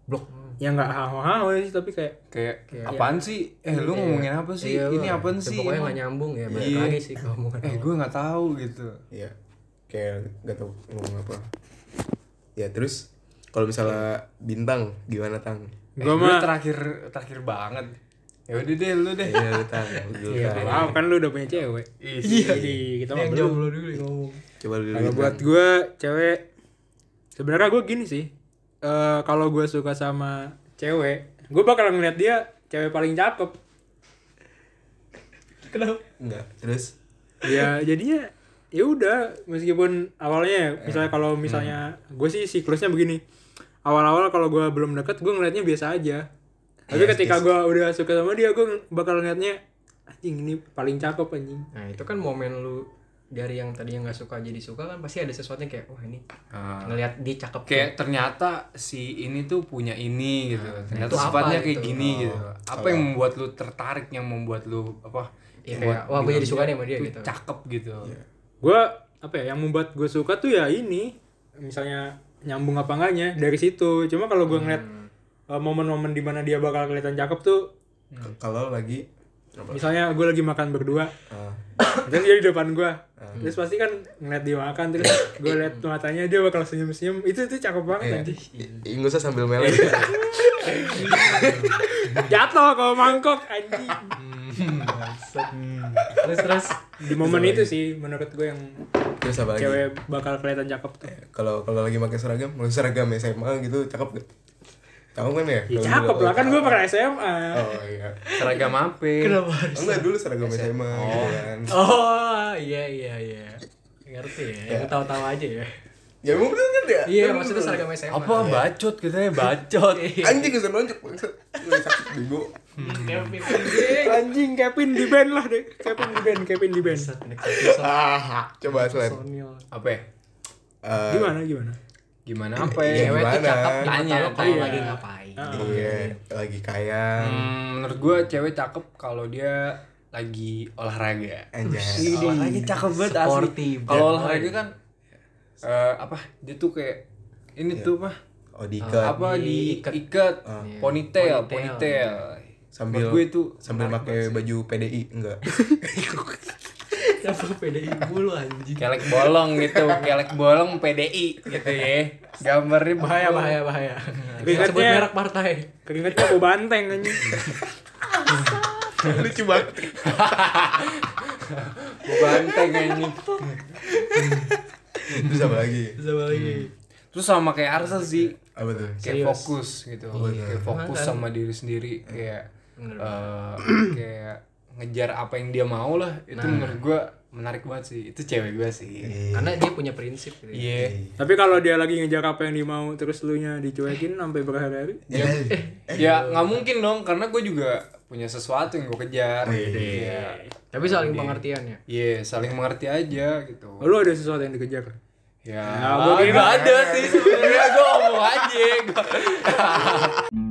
Speaker 3: Blok.
Speaker 1: ya nggak hao hao sih tapi kayak
Speaker 2: kayak apaan sih eh lu ngomongin apa sih
Speaker 3: Iya,
Speaker 2: ini
Speaker 3: lah.
Speaker 2: apaan
Speaker 3: Ya,
Speaker 2: sih
Speaker 3: Pokoknya
Speaker 2: Emang-
Speaker 3: nggak nyambung ya, balik
Speaker 2: Iya.
Speaker 3: lagi sih ke omongan.
Speaker 2: eh gue nggak tahu gitu
Speaker 4: Iya. Kayak nggak tahu ngomong apa. Ya terus kalau misalnya bintang gimana tang?
Speaker 2: eh,
Speaker 1: Gua
Speaker 2: gue
Speaker 1: mah-
Speaker 2: terakhir terakhir banget ya udah deh lu deh
Speaker 4: Iya lu, tang. Lu, Tang.
Speaker 1: wow kan lu udah punya cewek iya jadi kita mah
Speaker 3: Yang
Speaker 1: belum
Speaker 3: jomblo dulu yang ngomong.
Speaker 4: Coba lu dulu.
Speaker 1: kalau buat gue cewek sebenarnya gue gini sih Eh kalau gue suka sama cewek gue bakal ngeliat dia cewek paling cakep
Speaker 3: Kenapa?
Speaker 4: Enggak. Terus
Speaker 1: ya jadinya ya udah meskipun awalnya misalnya kalau misalnya gue sih siklusnya begini awal-awal kalau gue belum deket gue ngeliatnya biasa aja tapi
Speaker 4: Yes,
Speaker 1: ketika
Speaker 4: yes.
Speaker 1: gue udah suka sama dia gue bakal ngeliatnya anjing ini paling cakep anjing
Speaker 3: Nah itu kan momen lu dari yang tadi yang nggak suka jadi suka kan pasti ada sesuatu yang kayak wah ini
Speaker 2: Ah.
Speaker 3: ngelihat dia cakep
Speaker 2: kayak ternyata si ini tuh punya ini gitu ternyata
Speaker 3: Ah, itu apa Oh,
Speaker 2: sifatnya kayak
Speaker 3: itu?
Speaker 2: gini gitu apa yang membuat lu tertarik yang membuat lu apa
Speaker 3: Ya,
Speaker 2: membuat
Speaker 3: kayak, wah, gua
Speaker 2: bilang
Speaker 3: jadi suka nih sama dia
Speaker 2: tuh
Speaker 3: gitu.
Speaker 2: cakep gitu
Speaker 4: Iya.
Speaker 1: gue apa ya yang membuat gue suka tuh ya ini misalnya nyambung apa enggaknya dari situ cuma kalau gue ngeliat eh, momen-momen dimana dia bakal kelihatan cakep tuh
Speaker 4: k- kalau lagi
Speaker 1: misalnya gue lagi makan berdua
Speaker 4: ah,
Speaker 1: dan dia di depan gue terus pasti kan ngeliat dia makan terus gue liat matanya dia bakal senyum senyum itu itu cakep banget
Speaker 4: Iya.
Speaker 1: anjing
Speaker 4: i- i- nggak usah sambil melet.
Speaker 1: Iya. jatuh kalau mangkok anjing
Speaker 3: terus terus
Speaker 1: di momen itu sih menurut gue yang
Speaker 4: terus apa lagi? Iya.
Speaker 1: cewek bakal kelihatan cakep tuh
Speaker 4: Kalau kalau lagi pakai seragam, kalau seragam SMA gitu cakep gak? Tahu kan ya?
Speaker 1: ya
Speaker 4: Kalau
Speaker 1: cakep
Speaker 4: dulu-
Speaker 1: lah kan gue pernah SMA
Speaker 4: Oh iya.
Speaker 2: seragam apa
Speaker 3: kenapa harus
Speaker 4: Enggak dulu seragam SMA gitu kan.
Speaker 3: oh iya iya iya ngerti ya yang tahu-tahu aja ya
Speaker 4: Ya emang bener kan ya?
Speaker 3: iya maksudnya seragam iya. SMA
Speaker 2: Iya. apa bacot katanya bacot
Speaker 4: Anjing kesan lonjok bangsat. Lu sakit bego.
Speaker 3: Iya.
Speaker 1: anjing Kevin di band lah deh Kevin di band Kevin di band
Speaker 4: Ah, coba selain.
Speaker 2: apa ya?
Speaker 4: Eh,
Speaker 1: gimana gimana
Speaker 3: Nah,
Speaker 2: gimana apa
Speaker 4: Iya,
Speaker 2: ya?
Speaker 3: cewek tuh
Speaker 4: gimana?
Speaker 3: cakep di mata
Speaker 2: Tanya,
Speaker 3: lo kalau
Speaker 2: tanya.
Speaker 3: lagi ngapain
Speaker 4: Iya, lagi kaya.
Speaker 2: Hmm, menurut gue cewek cakep kalau dia lagi olahraga
Speaker 4: Anjay.
Speaker 2: olahraga cakep banget
Speaker 3: Iya. Sporty,
Speaker 2: asli kalau
Speaker 3: boy.
Speaker 2: olahraga kan eh, apa dia tuh kayak ini
Speaker 4: Iya.
Speaker 2: tuh mah
Speaker 4: Odika
Speaker 2: apa
Speaker 3: Diikat.
Speaker 2: diikat
Speaker 4: Iya.
Speaker 2: ponytail
Speaker 3: Ponytail.
Speaker 2: ponytail
Speaker 4: sambil
Speaker 2: Menurut gue itu
Speaker 4: sambil pakai baju PDI enggak.
Speaker 2: Iya,
Speaker 3: apa PDI mulu anjing
Speaker 2: kelek bolong gitu kelek bolong PDI gitu ya gambarnya
Speaker 3: bahaya bahaya bahaya
Speaker 1: Ingatnya-
Speaker 3: Jangan sebut merek partai
Speaker 1: keringetnya bau banteng anjing
Speaker 4: Lucu banget.
Speaker 2: banteng ini
Speaker 4: Terus apa lagi?
Speaker 3: sama lagi
Speaker 2: terus sama kayak Arsa sih
Speaker 4: Apa tuh?
Speaker 2: kayak
Speaker 3: Serius.
Speaker 2: fokus gitu kayak fokus
Speaker 3: Makan.
Speaker 2: sama diri sendiri kayak eh, kayak ngejar apa yang dia mau lah itu menurut gua menarik banget sih itu cewek gua
Speaker 4: Iya.
Speaker 2: sih
Speaker 3: karena dia punya prinsip gitu.
Speaker 2: iya
Speaker 1: tapi kalau dia lagi ngejar apa yang dia mau terus lu nya dicuekin sampai berhari-hari
Speaker 4: Eh.
Speaker 3: eh,
Speaker 2: ya nggak mungkin dong karena gua juga punya sesuatu yang gua kejar iya
Speaker 3: tapi saling pengertian ya
Speaker 2: Iya, saling mengerti aja gitu.
Speaker 1: lu ada sesuatu yang dikejar
Speaker 2: Ya,
Speaker 1: Nah, gua kira-
Speaker 2: nggak ada sih sebenarnya gue ngomong aja. Gua-